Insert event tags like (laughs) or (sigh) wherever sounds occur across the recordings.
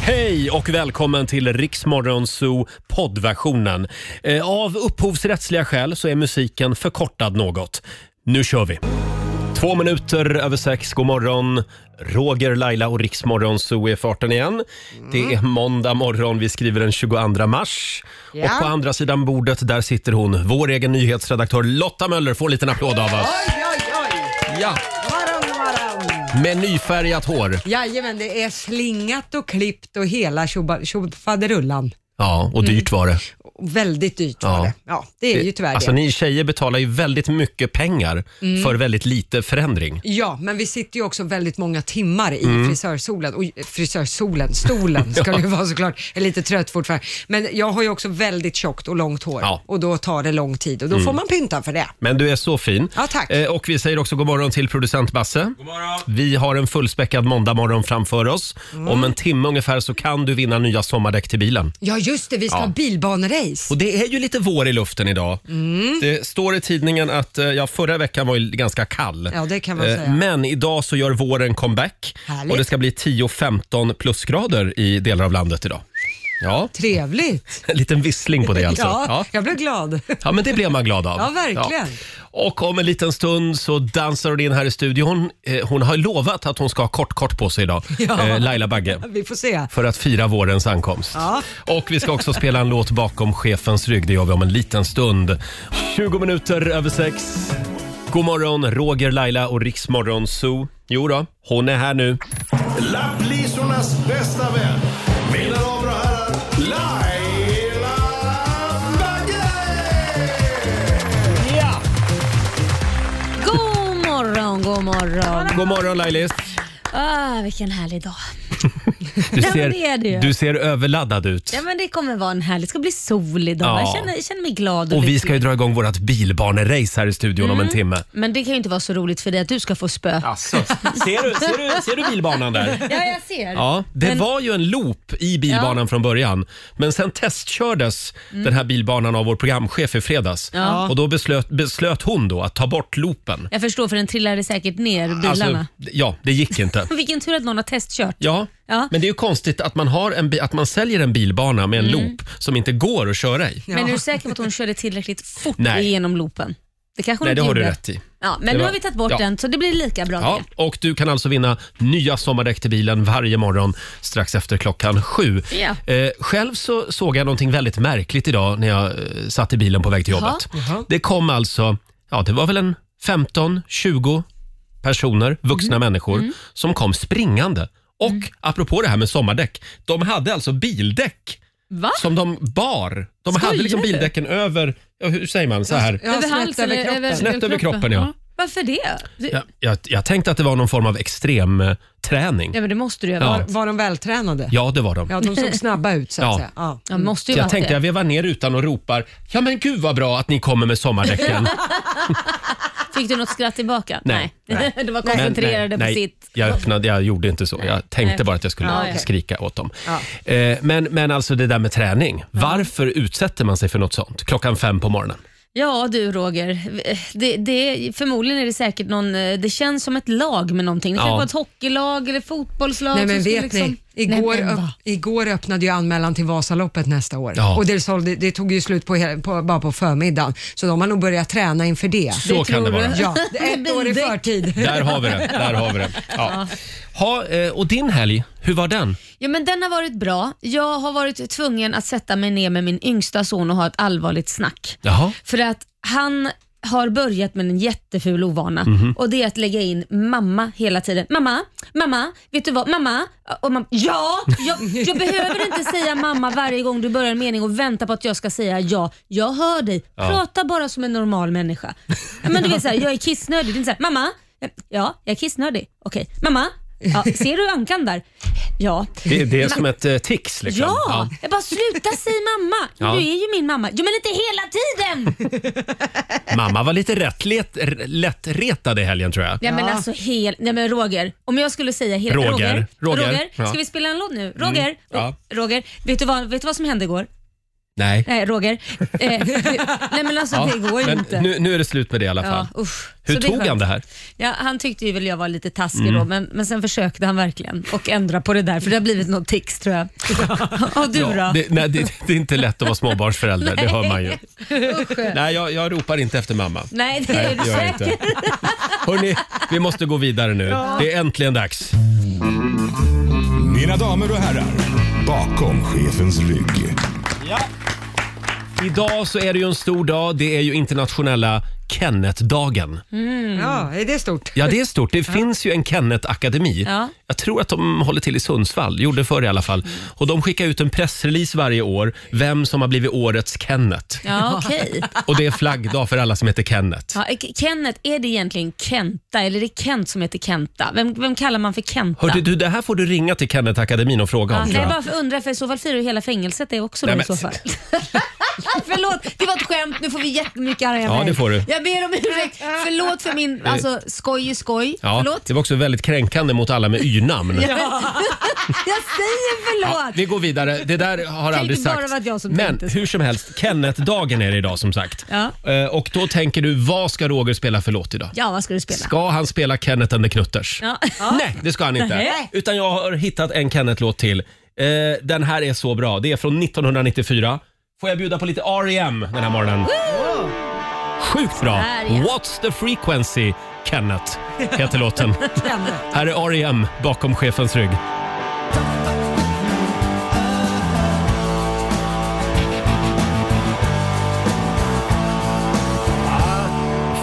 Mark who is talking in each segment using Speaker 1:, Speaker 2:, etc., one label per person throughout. Speaker 1: Hej och välkommen till Riksmorgon Zoo poddversionen. Eh, Av upphovsrättsliga skäl så är musiken förkortad något. Nu kör vi! Två minuter över sex, god morgon. Roger, Laila och Riksmorgon Zoo är i farten igen.
Speaker 2: Mm.
Speaker 1: Det är måndag morgon, vi skriver den 22 mars.
Speaker 2: Ja.
Speaker 1: Och på andra sidan bordet, där sitter hon, vår egen nyhetsredaktör Lotta Möller. Får en liten applåd av oss.
Speaker 2: Oj, oj, oj!
Speaker 1: Ja,
Speaker 2: Varann, varann!
Speaker 1: med nyfärgat hår.
Speaker 2: Jajamän, det är slingat och klippt och hela tjoba- tjofaderullan.
Speaker 1: Ja, och
Speaker 2: Mm.
Speaker 1: dyrt var det.
Speaker 2: Väldigt dyrt
Speaker 1: Ja.
Speaker 2: var det. Ja, det är ju tyvärr
Speaker 1: Alltså
Speaker 2: det. Mm.
Speaker 1: ni tjejer betalar ju väldigt mycket pengar för väldigt lite förändring.
Speaker 2: Ja, men vi sitter ju också väldigt många timmar i
Speaker 1: Mm.
Speaker 2: frisörsolen. Och
Speaker 1: (laughs)
Speaker 2: frisörsolen, stolen ska det ju vara såklart. Jag är lite trött fortfarande. Men jag har ju också väldigt tjockt och långt hår
Speaker 1: Ja. Mm.
Speaker 2: och då tar det lång tid och då får man pynta för det.
Speaker 1: Men du är så fin.
Speaker 2: Ja, tack.
Speaker 1: Eh, och vi säger också god morgon till producent Basse. God morgon. Vi har en fullspäckad måndagmorgon framför oss.
Speaker 2: Mm.
Speaker 1: Om en timme ungefär så kan du vinna nya sommardäck till bilen.
Speaker 2: Ja, just det, vi ska
Speaker 1: Ja.
Speaker 2: ha bilbanerace.
Speaker 1: Och det är ju lite vår i luften idag.
Speaker 2: Mm.
Speaker 1: Det står i tidningen att eh, ja, förra veckan var ju ganska kall. Eh,
Speaker 2: Ja, det kan man säga.
Speaker 1: Men idag så gör våren comeback
Speaker 2: Härligt.
Speaker 1: och det ska bli 10-15 plusgrader i delar av landet idag. Ja, (laughs)
Speaker 2: Trevligt.
Speaker 1: en liten vissling på det alltså.
Speaker 2: Ja,
Speaker 1: Ja.
Speaker 2: jag blev glad. (laughs)
Speaker 1: Ja, men det blev man glad av.
Speaker 2: Ja, verkligen.
Speaker 1: Och om en liten stund så dansar hon in här i studion. Eh, Hon har lovat att hon ska ha kort kort på sig idag,
Speaker 2: (laughs) Ja.
Speaker 1: eh, Laila Bagge.
Speaker 2: Vi får se.
Speaker 1: För att fira vårens ankomst.
Speaker 2: Ja.
Speaker 1: Och vi ska också spela en låt bakom chefens rygg. Det gör vi om en liten stund. 20 minuter över sex. God morgon, Roger, Laila och Riksmorgon Zoo. Jo då, hon är här nu.
Speaker 3: Lapplisornas bästa vän. Mina damer och herrar, Laila Bagge!
Speaker 4: God morgon, god morgon.
Speaker 1: God morgon Lailis.
Speaker 4: Ah, vilken härlig dag.
Speaker 1: Du
Speaker 4: Ja, men det är det ju.
Speaker 1: ser, du ser överladdad ut.
Speaker 4: Ja, men det kommer vara en härlig, det ska bli sol idag.
Speaker 1: Ja.
Speaker 4: Jag, känner, jag känner mig glad och,
Speaker 1: Och vi
Speaker 4: lycklig.
Speaker 1: ska ju dra igång vårt bilbanerace här i studion om en
Speaker 4: Mm.
Speaker 1: timme.
Speaker 4: Men det kan ju inte vara så roligt för dig att du ska få spö. Ja,
Speaker 1: Asså. Alltså, Ser, du, ser, du, ser du bilbanan där?
Speaker 4: jag ser.
Speaker 1: Ja, det
Speaker 4: Men-
Speaker 1: var ju en loop i bilbanan från början. Men sen testkördes den här bilbanan av vår programchef i fredags.
Speaker 4: Mm. Ja.
Speaker 1: Och då beslöt, beslöt hon då att ta bort loopen.
Speaker 4: Jag förstår för den trillade säkert ner bilarna.
Speaker 1: Alltså- ja, det gick inte.
Speaker 4: Vilken tur att någon har testkört.
Speaker 1: Ja,
Speaker 4: Ja.
Speaker 1: men det är ju konstigt att man, har en, bi- att man säljer en bilbana med en
Speaker 4: Mm.
Speaker 1: loop som inte går att köra i.
Speaker 4: Men är du säker på att hon körde tillräckligt fort
Speaker 1: Nej.
Speaker 4: igenom loopen? Det kanske hon
Speaker 1: Nej, det
Speaker 4: inte
Speaker 1: har du
Speaker 4: gjorde.
Speaker 1: rätt i.
Speaker 4: Ja, men
Speaker 1: Det
Speaker 4: nu
Speaker 1: var-
Speaker 4: har vi tagit bort
Speaker 1: Ja.
Speaker 4: den så det blir lika bra
Speaker 1: Ja,
Speaker 4: det.
Speaker 1: och du kan alltså vinna nya sommardäck till bilen varje morgon strax efter klockan sju.
Speaker 4: Ja.
Speaker 1: Eh, själv så såg jag någonting väldigt märkligt idag när jag eh, satt i bilen på väg till
Speaker 4: Jaha.
Speaker 1: jobbet. Det kom alltså, ja det var väl en 15, 20 personer,
Speaker 4: Mhm.
Speaker 1: vuxna människor,
Speaker 4: Mm.
Speaker 1: som kom springande. Och apropå det här med sommardäck, de hade alltså bildäck
Speaker 4: Va?
Speaker 1: som de bar. De
Speaker 4: Skojar
Speaker 1: hade liksom
Speaker 4: du? Alltså, eh,
Speaker 1: bildäcken över, ja, hur säger man, så här.
Speaker 2: Ja,
Speaker 4: Över
Speaker 2: snett
Speaker 4: halsen?
Speaker 2: över
Speaker 4: eller-
Speaker 2: kroppen.
Speaker 1: Snett över kroppen, ja.
Speaker 4: Varför det? Du, ja.
Speaker 1: Jag, jag, jag tänkte att det var någon form av extremträning.
Speaker 4: men det måste du ju
Speaker 1: Ja.
Speaker 4: vara.
Speaker 2: Var de vältränade?
Speaker 1: Ja, det var de.
Speaker 2: Ja, de
Speaker 4: (laughs)
Speaker 2: såg snabba ut så att
Speaker 1: Ja.
Speaker 2: säga. Ja.
Speaker 4: Ja, måste
Speaker 1: Så
Speaker 4: ju vara
Speaker 1: jag tänkte
Speaker 4: det.
Speaker 1: jag vevar ner utan och ropar Ja men gud vad bra att ni kommer med
Speaker 4: (laughs)
Speaker 1: sommardäcken.
Speaker 4: Fick du något skratt tillbaka?
Speaker 1: Nej.
Speaker 4: (laughs) De var
Speaker 1: Men-
Speaker 4: koncentrerade
Speaker 1: nej,
Speaker 4: på
Speaker 1: nej,
Speaker 4: sitt.
Speaker 1: Jag öppnade, jag gjorde inte så. Jag tänkte
Speaker 4: Nej.
Speaker 1: bara att jag skulle
Speaker 4: Ja, okej.
Speaker 1: skrika åt dem. Eh, Men, men alltså det där med träning. Varför utsätter man sig för något sånt klockan fem på morgonen?
Speaker 4: Ja du Roger, det, det, förmodligen är det säkert någon, eh, det känns som ett lag med någonting. Det kan
Speaker 1: Ja.
Speaker 4: vara ett hockeylag eller fotbollslag.
Speaker 2: Nej
Speaker 4: som
Speaker 2: men
Speaker 4: skulle
Speaker 2: vet
Speaker 4: liksom-
Speaker 2: ni, igår,
Speaker 4: Nej, men
Speaker 2: öpp,
Speaker 4: va?
Speaker 2: igår öppnade ju anmälan till Vasaloppet nästa år
Speaker 1: Ja.
Speaker 2: och det, sålde, det tog ju slut på, hela- på, bara på förmiddagen så de har nog börjat träna inför det.
Speaker 1: Så
Speaker 4: (laughs) Det
Speaker 1: kan det
Speaker 4: tror
Speaker 1: vara.
Speaker 4: du.
Speaker 2: Ja, det är ett år i
Speaker 4: Bildäck.
Speaker 2: förtid.
Speaker 1: Där har vi det. Där har vi
Speaker 4: (laughs)
Speaker 1: det. Ja. Ha, eh, och din helg, hur var den?
Speaker 4: Ja, men den har varit bra. Jag har varit tvungen att sätta mig ner med min yngsta son och ha ett allvarligt snack.
Speaker 1: Jaha.
Speaker 4: För att han har börjat med en jätteful ovana
Speaker 1: Mhm.
Speaker 4: och det är att lägga in mamma hela tiden. Mamma, mamma, vet du vad, mamma. Och mamma ja, jag, jag behöver inte säga mamma varje gång du börjar en mening och vänta på att jag ska säga ja. Jag hör dig,
Speaker 1: Ja.
Speaker 4: prata bara som en normal människa. Men du vet, så här, jag är kissnödig. Det är inte så här, mamma, ja, jag är kissnödig. Okej, mamma, ja, ser du ankan där? Ja.
Speaker 1: Det, (laughs) det är som ett eh, tics liksom.
Speaker 4: Ja, jag bara sluta säg mamma. Men
Speaker 1: Ja.
Speaker 4: Du är ju min mamma. Jo men inte hela tiden.
Speaker 1: Ja. Mamma var lite rätt let, r- lättretad i helgen tror jag.
Speaker 4: Ja, men alltså hel... Nej men Roger, om jag skulle säga hel...
Speaker 1: Roger.
Speaker 4: Roger,
Speaker 1: Roger.
Speaker 4: Roger.
Speaker 1: Ja. Mm,
Speaker 4: ska vi spela en låt nu? Roger,
Speaker 1: ja.
Speaker 4: Roger. Vet, du vad, vet du vad som hände igår?
Speaker 1: Nej.
Speaker 4: Nej, Roger. Eh,
Speaker 1: (laughs)
Speaker 4: du, nej men alltså det går ju
Speaker 1: men
Speaker 4: inte.
Speaker 1: Nu, nu är det slut med det i alla fall.
Speaker 4: ja, usch.
Speaker 1: Hur
Speaker 4: Så är
Speaker 1: tog han
Speaker 4: skönt.
Speaker 1: det här? Mm.
Speaker 4: Ja, han tyckte ju väl jag var lite taskig då, men, men sen försökte han verkligen och ändra på det där, för det har blivit något tics tror
Speaker 1: (laughs)
Speaker 4: jag. Och du då?
Speaker 1: det, nej, det, det är inte lätt att vara småbarnsförälder, det hör man ju.
Speaker 4: (laughs) Usch.
Speaker 1: (laughs) Nej, jag, jag ropar inte efter mamma.
Speaker 4: Nej, det är du
Speaker 1: gör jag
Speaker 4: säkert.
Speaker 1: inte. (laughs) Hörrni, vi måste gå vidare nu. Det är äntligen dags.
Speaker 3: Mina damer och herrar, bakom chefens rygg.
Speaker 1: Idag så är det ju en stor dag. Det är ju internationella Kennetdagen.
Speaker 4: Mm.
Speaker 2: Ja, är det stort?
Speaker 1: Mm. Ja, det är stort. Det finns ju en Kennet-akademi.
Speaker 4: Ja.
Speaker 1: Jag tror att de håller till i Sundsvall, gjorde förr i alla fall. Och de skickar ut en pressrelease varje år, vem som har blivit årets Kennet.
Speaker 4: Ja, okej.
Speaker 1: Och det är flaggdag för alla som heter Kennet.
Speaker 4: Ja, eh, K- Kenneth, är det egentligen Kenta eller är det Kent som heter Kenta? Vem, vem kallar man för Kenta?
Speaker 1: Hörde du, det här får du ringa till Kennetakademin och fråga
Speaker 4: Ja,
Speaker 1: om.
Speaker 4: nej,
Speaker 1: tror
Speaker 4: jag
Speaker 1: jag.
Speaker 4: bara för- undrar, för i så fall firar ju hela fängelset det också då
Speaker 1: Nej,
Speaker 4: i
Speaker 1: men-
Speaker 4: så fall. (laughs) Förlåt, det var ett skämt. Nu får vi jättemycket arga
Speaker 1: Ja,
Speaker 4: mejl.
Speaker 1: det får du. Eh,
Speaker 4: Jag ber om ursäkt. Förlåt för min, alltså skoj är skoj.
Speaker 1: Ja,
Speaker 4: Förlåt.
Speaker 1: det var också väldigt kränkande mot alla med
Speaker 4: (laughs)
Speaker 1: Y-namn.
Speaker 4: Jag säger förlåt.
Speaker 1: Vi går vidare. Det där har aldrig
Speaker 4: bara
Speaker 1: sagts.
Speaker 4: vara jag som
Speaker 1: Men
Speaker 4: tänkte så.
Speaker 1: hur som helst, Kennetdagen är det idag som sagt.
Speaker 4: Ja.
Speaker 1: Eh, Och då tänker du, vad ska Roger spela för låt idag?
Speaker 4: Ja, vad ska du spela?
Speaker 1: Ska han spela Kenneth and the Knutters?
Speaker 4: Ja.
Speaker 1: Nej, det ska han inte.
Speaker 4: Nej.
Speaker 1: Utan jag har hittat en Kenneth-låt till. Eh, den här är så bra. Det är från 1994. Får jag bjuda på lite R.E.M. den här morgonen? Sjukt bra!
Speaker 4: Där, ja.
Speaker 1: What's the frequency, Kenneth, heter låten. här är R.E.M. bakom chefens rygg.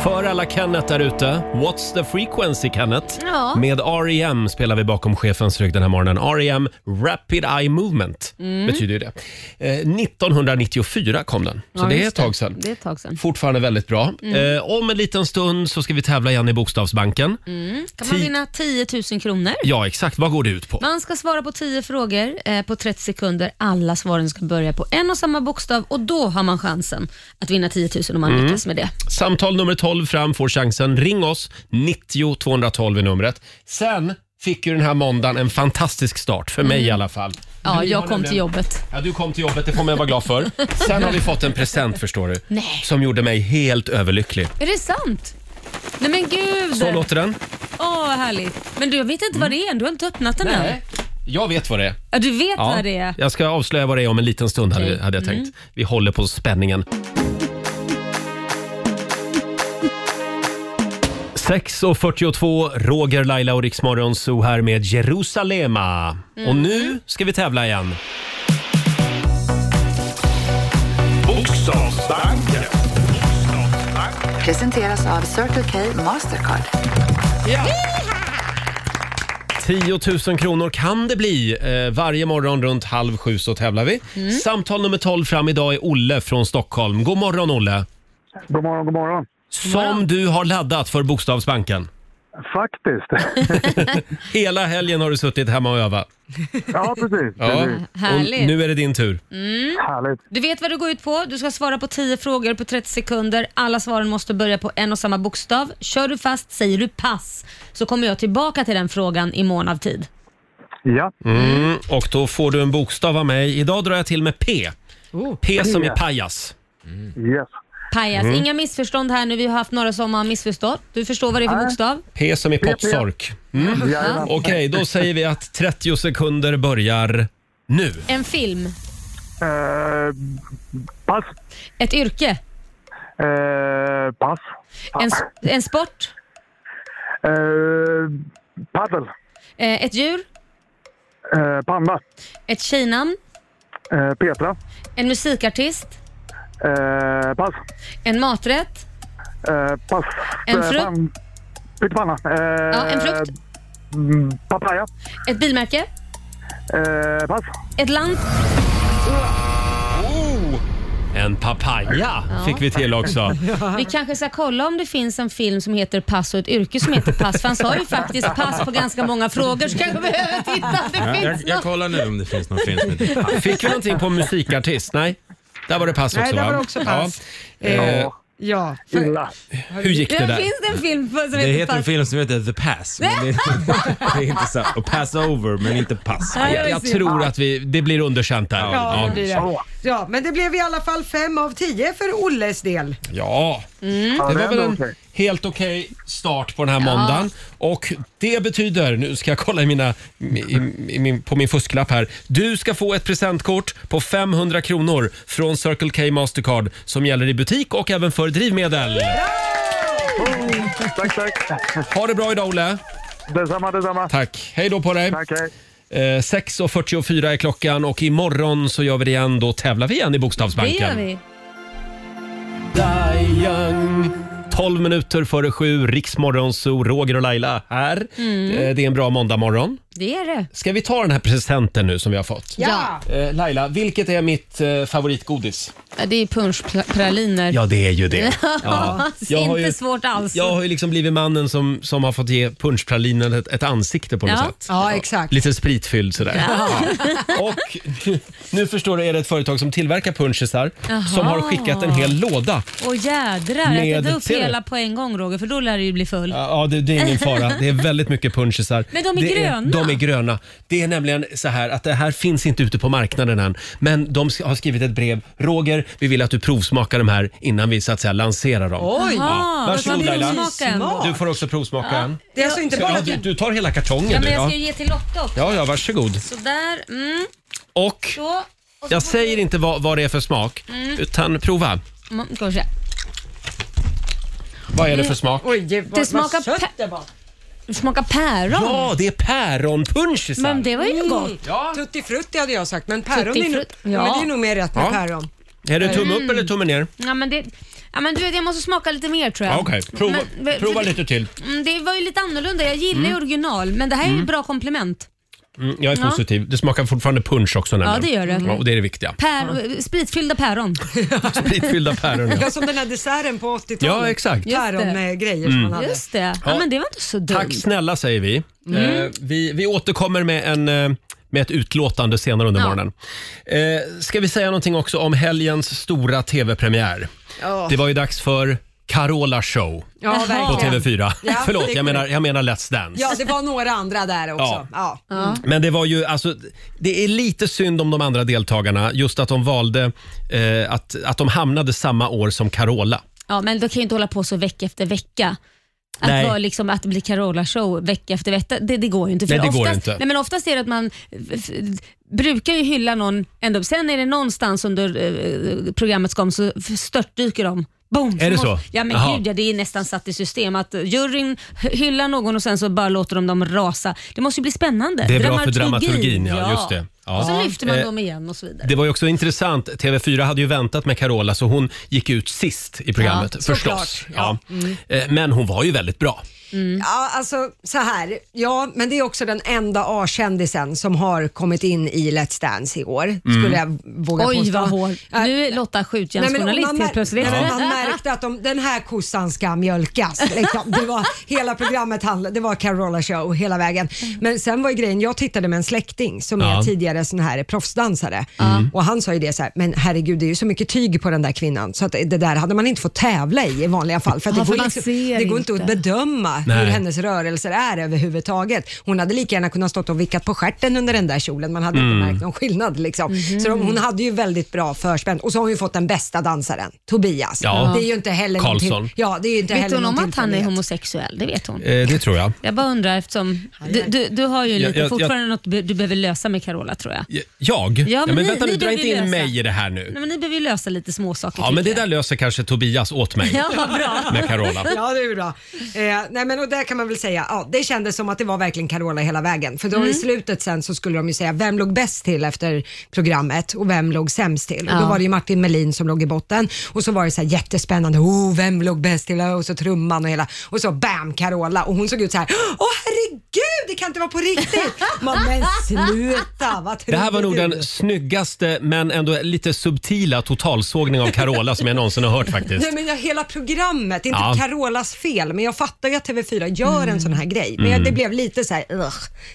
Speaker 1: För alla Kenneth där ute, What's the frequency Kenneth?
Speaker 4: Ja.
Speaker 1: Med R.E.M. spelar vi bakom chefens rygg den här morgonen. R.E.M. Rapid Eye Movement
Speaker 4: Mm.
Speaker 1: betyder ju det. Eh, 1994 kom den, så
Speaker 4: Ja,
Speaker 1: det är
Speaker 4: just
Speaker 1: ett tag sedan.
Speaker 4: Det är ett tag sedan. Mm.
Speaker 1: Fortfarande väldigt bra. Eh, om en liten stund så ska vi tävla igen i Bokstavsbanken.
Speaker 4: Kan man
Speaker 1: Ti-
Speaker 4: vinna 10 000 kronor?
Speaker 1: Ja, exakt. Vad går det ut på?
Speaker 4: Man ska svara på 10 frågor eh, på 30 sekunder. Alla svaren ska börja på en och samma bokstav och då har man chansen att vinna 10 000 om man lyckas med det.
Speaker 1: Samtal nummer 12 fram får chansen. Ring oss. 90 212 är numret. Sen fick ju den här måndagen en fantastisk start, för mig i alla fall.
Speaker 4: Mm. Ja,
Speaker 1: Du
Speaker 4: jag
Speaker 1: har
Speaker 4: kom
Speaker 1: nämligen-
Speaker 4: till jobbet.
Speaker 1: Ja, du kom till jobbet, det får man vara glad för. Sen har vi fått en present förstår du. Som gjorde mig helt överlycklig.
Speaker 4: Är det sant? Nej men gud!
Speaker 1: Så låter den.
Speaker 4: Åh, vad härligt. Men du, jag vet inte vad det är än. Du har inte öppnat den än.
Speaker 1: Jag vet vad det är.
Speaker 4: Ja, du vet vad det är.
Speaker 1: Jag ska avslöja vad det är om en liten stund hade,
Speaker 4: Okej. Mm.
Speaker 1: hade jag tänkt. Vi håller på spänningen. 6.42, Roger, Laila och Riksmorgon Zoo här med Jerusalema. Och
Speaker 4: Mm.
Speaker 1: nu ska vi tävla igen.
Speaker 3: Bokstavsbanken.
Speaker 5: Presenteras av Circle K Mastercard.
Speaker 1: 10 000 kronor kan det bli. Eh, varje morgon runt halv sju så tävlar vi.
Speaker 4: Mm.
Speaker 1: Samtal nummer 12 fram idag är Olle från Stockholm. God morgon Olle!
Speaker 6: God morgon, god morgon.
Speaker 1: Som du har laddat för
Speaker 4: (laughs)
Speaker 1: Bokstavsbanken. (laughs)
Speaker 6: Faktiskt. (laughs)
Speaker 1: Hela helgen har du suttit hemma och övat.
Speaker 6: Ja, precis.
Speaker 1: Ja. Mm.
Speaker 6: precis.
Speaker 1: Och
Speaker 4: Härligt.
Speaker 1: nu är det din tur.
Speaker 6: Härligt.
Speaker 4: Du vet vad du går ut på. Du ska svara på 10 frågor på 30 sekunder. Alla svaren måste börja på en och samma bokstav. Kör du fast säger du pass, så kommer jag tillbaka till den frågan i mån av tid.
Speaker 6: Ja,
Speaker 1: Mm, och då får du en bokstav av mig. Idag drar jag till med P.
Speaker 2: Oh.
Speaker 1: P som är
Speaker 6: P.
Speaker 1: pajas.
Speaker 6: yes.
Speaker 4: Pajas,
Speaker 7: Mm.
Speaker 4: inga missförstånd här nu. Vi har haft några som har missförstått. Du förstår vad det är för bokstav?
Speaker 1: P som är popsork. Mm.
Speaker 6: Jajamän.
Speaker 1: Okej, då säger vi att 30 sekunder börjar nu.
Speaker 4: En film.
Speaker 6: Eh, pass.
Speaker 4: Ett yrke.
Speaker 6: Eh, pass.
Speaker 4: En, s- en sport.
Speaker 6: Eh, paddel.
Speaker 4: Eh, Ett djur.
Speaker 6: Eh, panda.
Speaker 4: Ett tjejnamn.
Speaker 6: Eh, Petra.
Speaker 4: En musikartist.
Speaker 6: Eh, pass.
Speaker 4: En maträtt.
Speaker 6: Eh, pass.
Speaker 4: En
Speaker 6: Eh,
Speaker 4: frukt?
Speaker 6: pan- Pyttipanna. Eh,
Speaker 4: Ja, en frukt.
Speaker 6: mm, Papaya.
Speaker 4: Ett bilmärke.
Speaker 6: Eh, pass.
Speaker 4: Ett land.
Speaker 1: En papaya fick vi till (laughs) också.
Speaker 4: Vi kanske ska kolla om det finns en film som heter Pass och ett yrke som heter Pass. För han sa ju
Speaker 7: (laughs)
Speaker 4: faktiskt pass på ganska många frågor så kanske vi behöver titta om det
Speaker 7: Jag,
Speaker 4: finns
Speaker 7: jag
Speaker 4: någon.
Speaker 7: kollar nu om det finns någon film som heter Pass.
Speaker 1: Fick vi någonting på musikartist? Nej, där var det pass också
Speaker 2: Nej, det var
Speaker 1: va?
Speaker 2: också
Speaker 1: Ja.
Speaker 2: pass.
Speaker 1: Eh,
Speaker 6: Ja.
Speaker 2: Ja, för,
Speaker 6: Illa.
Speaker 1: Hur gick det
Speaker 4: Det
Speaker 1: där?
Speaker 4: finns det en film på- som
Speaker 7: Det
Speaker 4: heter
Speaker 7: heter en
Speaker 4: Pass.
Speaker 7: film som heter The Pass. Men det, det är inte (laughs) så. Och Pass Over, men inte Pass.
Speaker 4: Nej,
Speaker 1: Jag, jag tror att vi, det blir underkänt där.
Speaker 7: Ja,
Speaker 2: ja,
Speaker 1: Ja.
Speaker 2: det blir det.
Speaker 6: Ja.
Speaker 2: Ja, men det blev i alla fall fem av tio för Olles del.
Speaker 1: Ja,
Speaker 6: Ja,
Speaker 4: Mm.
Speaker 1: det var
Speaker 6: är
Speaker 1: väl
Speaker 6: ändå
Speaker 1: en
Speaker 6: okej.
Speaker 1: helt okej start på den här måndagen. Och det betyder, nu ska jag kolla i mina, i, i min, på min fusklapp här. Du ska få ett presentkort på 500 kronor från Circle K Mastercard som gäller i butik och även för drivmedel.
Speaker 6: Tack, tack.
Speaker 1: Ha det bra idag Olle.
Speaker 6: Detsamma, detsamma.
Speaker 1: Tack. Hej då på dig.
Speaker 6: Tack, hej.
Speaker 1: Eh, 6.44 är klockan och imorgon så gör vi det igen. Då tävlar vi igen i
Speaker 4: Det
Speaker 1: Bokstavsbanken.
Speaker 4: gör vi.
Speaker 1: Die Young. 12 minuter före sju, Riksmorgon, så Roger och Laila här. Eh, Det är en bra måndagmorgon.
Speaker 4: Det är det.
Speaker 1: Ska vi ta den här presenten nu som vi har fått?
Speaker 4: Ja.
Speaker 1: Eh, Laila, vilket är mitt eh, favoritgodis?
Speaker 4: Det är punschpraliner.
Speaker 1: Ja, det är ju (laughs) det.
Speaker 4: Ja.
Speaker 1: Jag har
Speaker 4: Inte
Speaker 1: ju-
Speaker 4: svårt alls.
Speaker 1: Jag har ju liksom blivit mannen som, som har fått ge punschpralinen ett, ett ansikte på något
Speaker 4: Ja.
Speaker 1: sätt.
Speaker 2: Ja, exakt.
Speaker 1: Lite spritfylld sådär. Ja. Och nu förstår du, är det ett företag som tillverkar punschisar som har skickat en hel låda
Speaker 4: Och jädrar,
Speaker 1: Med-
Speaker 4: ätit upp
Speaker 1: ser du?
Speaker 4: hela på en gång Roger för då lär du ju bli full.
Speaker 1: Ja, ja, det, det är ingen fara. Det är väldigt mycket punchisar.
Speaker 4: Men de är
Speaker 1: det
Speaker 4: gröna.
Speaker 1: de är gröna. Det är nämligen så här att det här finns inte ute på marknaden än. Men de sk- har skrivit ett brev. Roger, vi vill att du provsmakar de här innan vi så att säga lanserar dem.
Speaker 2: Oj!
Speaker 4: Jaha, då
Speaker 1: Varsågod,
Speaker 4: tar vi
Speaker 1: Laila.
Speaker 4: provsmaken.
Speaker 2: Smart.
Speaker 1: Du får också provsmaka en.
Speaker 2: Det är alltså inte
Speaker 1: Ja,
Speaker 2: bara
Speaker 1: du,
Speaker 2: du.
Speaker 1: du tar hela kartongen
Speaker 4: Ja,
Speaker 1: du.
Speaker 4: men jag
Speaker 1: Ja.
Speaker 4: ska ju ge till Lotta också.
Speaker 1: ja, ja, varsågod.
Speaker 4: Sådär. Mm.
Speaker 1: Och
Speaker 4: Så. Och så
Speaker 1: jag säger inte vad, vad det är för smak, utan prova.
Speaker 4: Mm, ska vi se.
Speaker 1: Vad är det för smak?
Speaker 2: Oj, vad,
Speaker 4: Det smakar
Speaker 2: vad sött
Speaker 4: pe-
Speaker 2: det var.
Speaker 4: Det smakar päron.
Speaker 1: Ja, det är päronpunchisar.
Speaker 4: Men det var ju gott.
Speaker 2: Mm. Tutti frutti hade jag sagt, men päron
Speaker 4: Tutti
Speaker 2: är, nog-
Speaker 4: frutti,
Speaker 2: ja.
Speaker 4: ja.
Speaker 2: men det är nog mer rätt med
Speaker 1: Ja.
Speaker 2: päron.
Speaker 1: Är det tumme upp eller tumme ner?
Speaker 4: Ja, men det, ja, men du vet, jag måste smaka lite mer tror jag.
Speaker 1: Ja, Okej, prova,
Speaker 4: Men- men-
Speaker 1: prova
Speaker 4: det-
Speaker 1: lite till.
Speaker 4: Mm, det var ju lite annorlunda. Jag gillar ju original, men det här är ju bra komplement.
Speaker 1: Mm, jag är
Speaker 4: Ja.
Speaker 1: positiv. Det smakar fortfarande punch också nämligen.
Speaker 4: det gör det.
Speaker 1: Ja, och det är det viktiga.
Speaker 4: Pär, Spritfyllda päron.
Speaker 1: Spritfyllda päron.
Speaker 2: Det
Speaker 1: ja.
Speaker 2: var som den här desserten på 80-talet.
Speaker 1: Ja, exakt. Mm.
Speaker 4: Just
Speaker 2: Päron
Speaker 4: det.
Speaker 2: med grejer som man hade.
Speaker 4: Just det. Ja, men det var inte så dumt.
Speaker 1: Tack snälla säger vi. Eh, vi. Vi återkommer med, en, eh, med ett utlåtande senare under
Speaker 4: Ja.
Speaker 1: morgonen. Eh, ska vi säga någonting också om helgens stora tv-premiär?
Speaker 2: Ja.
Speaker 1: Det var ju dags för Carola show
Speaker 2: Ja,
Speaker 4: Jaha.
Speaker 1: på
Speaker 2: verkligen.
Speaker 1: TV4.
Speaker 2: Ja,
Speaker 1: Förlåt,
Speaker 2: det-
Speaker 1: jag menar, jag menar Let's Dance.
Speaker 2: Ja, det var några andra där också. Ja.
Speaker 1: Men det var ju, alltså, det är lite synd om de andra deltagarna, just att de valde eh, att, att de hamnade samma år som Carola.
Speaker 4: Ja, men du kan ju inte hålla på så vecka efter vecka.
Speaker 1: Nej.
Speaker 4: Att, vara liksom, att bli Carola-show vecka efter vecka, det, det går ju inte.
Speaker 1: Nej, det går
Speaker 4: oftast,
Speaker 1: inte.
Speaker 4: Nej, men oftast är det att man f- f- brukar ju hylla någon ändå. Sen är det någonstans under eh, programmets gång så f- störtdyker de. Boom,
Speaker 1: Är det
Speaker 4: måste-
Speaker 1: så?
Speaker 4: Ja, men
Speaker 1: Jaha.
Speaker 4: gud, ja, det är nästan satt i system att juryn hy- hyllar någon och sen så bara låter de dem rasa. Det måste ju bli spännande.
Speaker 1: Det är bra för dramaturgin, ja, just det. Ja.
Speaker 4: Och så lyfter man
Speaker 1: Eh,
Speaker 4: dem igen och så vidare.
Speaker 1: Det var ju också intressant. TV4 hade ju väntat med Carola så hon gick ut sist i programmet
Speaker 4: Ja, Mm.
Speaker 1: förstås. Ja. Eh, Men hon var ju väldigt bra.
Speaker 2: Ja, alltså så här. Ja, men det är också den enda A-kändisen som har kommit in i Let's Dance i år, skulle jag
Speaker 1: Mm.
Speaker 2: våga
Speaker 4: Oj
Speaker 2: påstå.
Speaker 4: vad hård.
Speaker 2: Ja.
Speaker 4: Nu är Lotta
Speaker 2: Nej, men
Speaker 4: skjutjärnsjournalist
Speaker 2: man,
Speaker 4: helt
Speaker 2: mär-
Speaker 4: plötsligt.
Speaker 1: (laughs)
Speaker 2: Nej, men man märkte att de, den här kossan ska mjölkas. Liksom. Det var, hela programmet handlade, det var Carola show hela vägen. Men sen var ju grejen, jag tittade med en släkting som
Speaker 1: Ja. Mm.
Speaker 2: är tidigare sån här proffsdansare och han sa ju det så här, men herregud det är ju så mycket tyg på den där kvinnan så att det där hade man inte fått tävla i i vanliga fall. För att
Speaker 4: Ja,
Speaker 2: det,
Speaker 4: för
Speaker 2: går
Speaker 4: man
Speaker 2: liksom,
Speaker 4: ser
Speaker 2: det går inte att
Speaker 4: inte.
Speaker 2: bedöma hur
Speaker 1: Nej.
Speaker 2: hennes rörelser är överhuvudtaget. Hon hade lika gärna kunnat stått och vickat på stjärten under den där kjolen, man hade inte
Speaker 1: Mm.
Speaker 2: märkt någon skillnad. Liksom.
Speaker 4: Mhm.
Speaker 2: Så de, hon hade ju väldigt bra förspänt och så har hon ju fått den bästa dansaren, Tobias.
Speaker 1: Ja.
Speaker 2: Det är ju inte heller
Speaker 1: Karlsson.
Speaker 2: någonting- Ja, det är ju inte
Speaker 4: Vet
Speaker 2: heller
Speaker 4: hon om
Speaker 2: någonting
Speaker 4: att han är
Speaker 2: tillfällighet.
Speaker 4: homosexuell? Det vet hon.
Speaker 1: Eh, Det tror jag.
Speaker 4: Jag bara undrar eftersom du, du, du har ju
Speaker 1: Jag-
Speaker 4: lite
Speaker 1: jag- jag-
Speaker 4: fortfarande något be- du behöver lösa med Carola tror jag.
Speaker 1: J- Jag? Ja, men
Speaker 4: men ni-
Speaker 1: vänta nu,
Speaker 4: ni
Speaker 1: dra
Speaker 4: behöver
Speaker 1: inte in
Speaker 4: lösa. Mm.
Speaker 1: mig i det här nu.
Speaker 4: Nej, men ni behöver ju lösa lite småsaker
Speaker 1: Ja,
Speaker 4: tycker
Speaker 1: men det
Speaker 4: jag.
Speaker 1: där löser kanske Tobias åt mig
Speaker 4: Ja, vad bra.
Speaker 1: med Carola.
Speaker 2: Ja, det är ju bra. Eh, nej, men och där kan man väl säga, ja, det kändes som att det var verkligen Carola hela vägen. För då i slutet sen så skulle de ju säga, vem låg bäst till efter programmet och vem låg sämst till? Och då
Speaker 4: Ja.
Speaker 2: var det ju Martin Melin som låg i botten och så var det så här jättespännande, oh, vem låg bäst till? Och så trumman och hela, och så bam, Carola. Och hon såg ut så här, åh herregud, det kan inte vara på riktigt. Man, men sluta, vad
Speaker 1: Det här var
Speaker 2: trodde
Speaker 1: nog
Speaker 2: du?
Speaker 1: den snyggaste men ändå lite subtila totalsågning av Carola som jag någonsin har hört faktiskt.
Speaker 2: Nej men jag, hela programmet, inte
Speaker 1: Ja. Mm.
Speaker 2: Carolas fel, men jag fattar ju att TV4 gör en sån här grej. Men jag, det blev lite så här, ugh,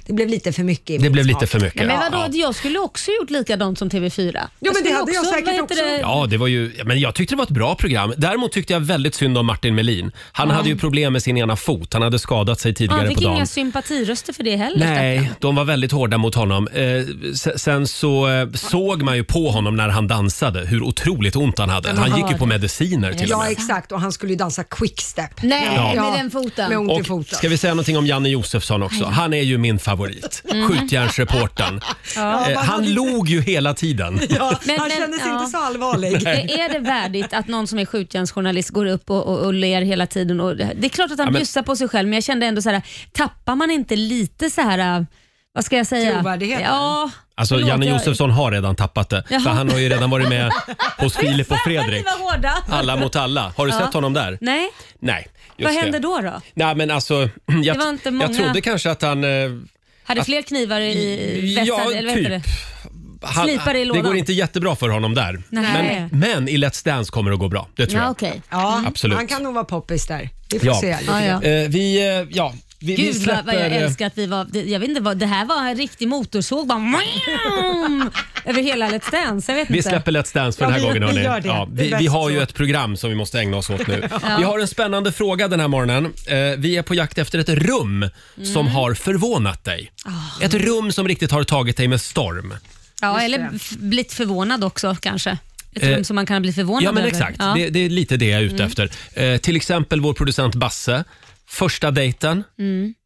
Speaker 2: det blev lite för mycket i
Speaker 1: Det
Speaker 2: min
Speaker 1: blev
Speaker 2: smak.
Speaker 1: lite för mycket.
Speaker 4: Nej, men vadå,
Speaker 1: Ja.
Speaker 4: jag skulle också gjort likadant som TV4.
Speaker 2: men det
Speaker 4: skulle
Speaker 2: hade jag säkert
Speaker 4: vad heter
Speaker 2: också.
Speaker 4: det?
Speaker 1: Ja, det var ju, ja, men jag tyckte det var ett bra program. Däremot tyckte jag väldigt synd om Martin Melin. Han hade ju problem med sin ena fot. Han hade skadat sig tidigare
Speaker 4: Han
Speaker 1: på
Speaker 4: fick
Speaker 1: dagen.
Speaker 4: inga sympatiröster för det heller.
Speaker 1: Nej, de var väldigt hårda mot honom. Eh, se- sen så eh, såg man ju på honom när han dansade hur otroligt ont han hade. Han gick ju på mediciner till och
Speaker 2: Ja,
Speaker 1: med.
Speaker 2: exakt. Och han skulle ju dansa quickstep.
Speaker 4: Nej,
Speaker 1: Ja.
Speaker 4: med den foten.
Speaker 2: Med ont i
Speaker 1: Och
Speaker 2: foten.
Speaker 1: ska vi säga någonting om Janne Josefsson också? Han är ju min favorit.
Speaker 4: (laughs) Mm.
Speaker 1: Skjutjärnsreportern. Eh, Han log ju hela tiden.
Speaker 2: Ja,
Speaker 4: Men-
Speaker 2: han
Speaker 4: men,
Speaker 2: kändes
Speaker 4: ja.
Speaker 2: inte så allvarlig.
Speaker 4: Är är det värdigt att någon som är skjutjärnsjournalist går upp och, och, och ler hela tiden? Och, det är klart att han
Speaker 1: Ja, men-
Speaker 4: bjussar på sig själv, men jag kände ändå så här, tappar man inte lite så här, äh, vad ska jag säga?
Speaker 2: Trovärdigheten?
Speaker 4: Ja.
Speaker 1: Alltså
Speaker 4: Förlåt,
Speaker 1: Janne
Speaker 4: jag-
Speaker 1: Josefsson har redan tappat det. För
Speaker 4: Jaha.
Speaker 1: han har ju redan varit
Speaker 4: (laughs)
Speaker 1: med hos Filip och
Speaker 4: Ni
Speaker 1: Fredrik.
Speaker 4: var hårda.
Speaker 1: Alla mot alla. Har du
Speaker 4: Ja.
Speaker 1: sett honom där?
Speaker 4: Nej,
Speaker 1: Nej.
Speaker 4: vad
Speaker 1: just det.
Speaker 4: hände då? då?
Speaker 1: Nej men alltså, (clears throat) jag,
Speaker 4: Det var inte
Speaker 1: jag
Speaker 4: många-
Speaker 1: trodde kanske att han... eh,
Speaker 4: Hade fler knivar i vässan?
Speaker 1: ja,
Speaker 4: eller vad heter
Speaker 1: typ.
Speaker 4: det?
Speaker 1: Han,
Speaker 4: Slipade i
Speaker 1: det
Speaker 4: lådan.
Speaker 1: går inte jättebra för honom där.
Speaker 4: Nej.
Speaker 1: Men, men i Let's Dance kommer det gå bra. Det tror
Speaker 4: Ja,
Speaker 1: jag.
Speaker 4: okej.
Speaker 2: Ja,
Speaker 1: Absolut.
Speaker 2: Han kan nog vara poppis där. Vi får
Speaker 1: Ja.
Speaker 2: se. lite
Speaker 4: Ja, ja.
Speaker 2: grann.
Speaker 1: Eh, vi, eh, ja, vi, vi
Speaker 4: Gud vad,
Speaker 1: släpper...
Speaker 4: vad jag
Speaker 1: eh,
Speaker 4: älskar att vi var, det, jag vet inte vad, det här var en riktig motorsåg bara
Speaker 1: (laughs)
Speaker 4: vroom, över hela Let's Dance. Jag vet
Speaker 1: Vi
Speaker 4: inte.
Speaker 1: släpper Let's Dance för
Speaker 2: Ja,
Speaker 1: den här
Speaker 2: vi-
Speaker 1: gången. hörni.
Speaker 2: vi gör det.
Speaker 1: Ja,
Speaker 2: Det är
Speaker 1: vi,
Speaker 2: bäst
Speaker 1: vi har ju
Speaker 2: så.
Speaker 1: ett program som vi måste ägna oss åt nu. Vi har en spännande fråga den här morgonen. Eh, Vi är på jakt efter ett rum som har förvånat dig. Ett rum som riktigt har tagit dig med storm.
Speaker 4: Ja, eller f- blivit förvånad också kanske. Ett
Speaker 1: Eh,
Speaker 4: rum som man kan bli förvånad
Speaker 1: Ja, men
Speaker 4: över.
Speaker 1: exakt.
Speaker 4: Ja.
Speaker 1: Det, det är lite det jag är ute efter. Eh, till exempel vår producent Basse. Första dejten.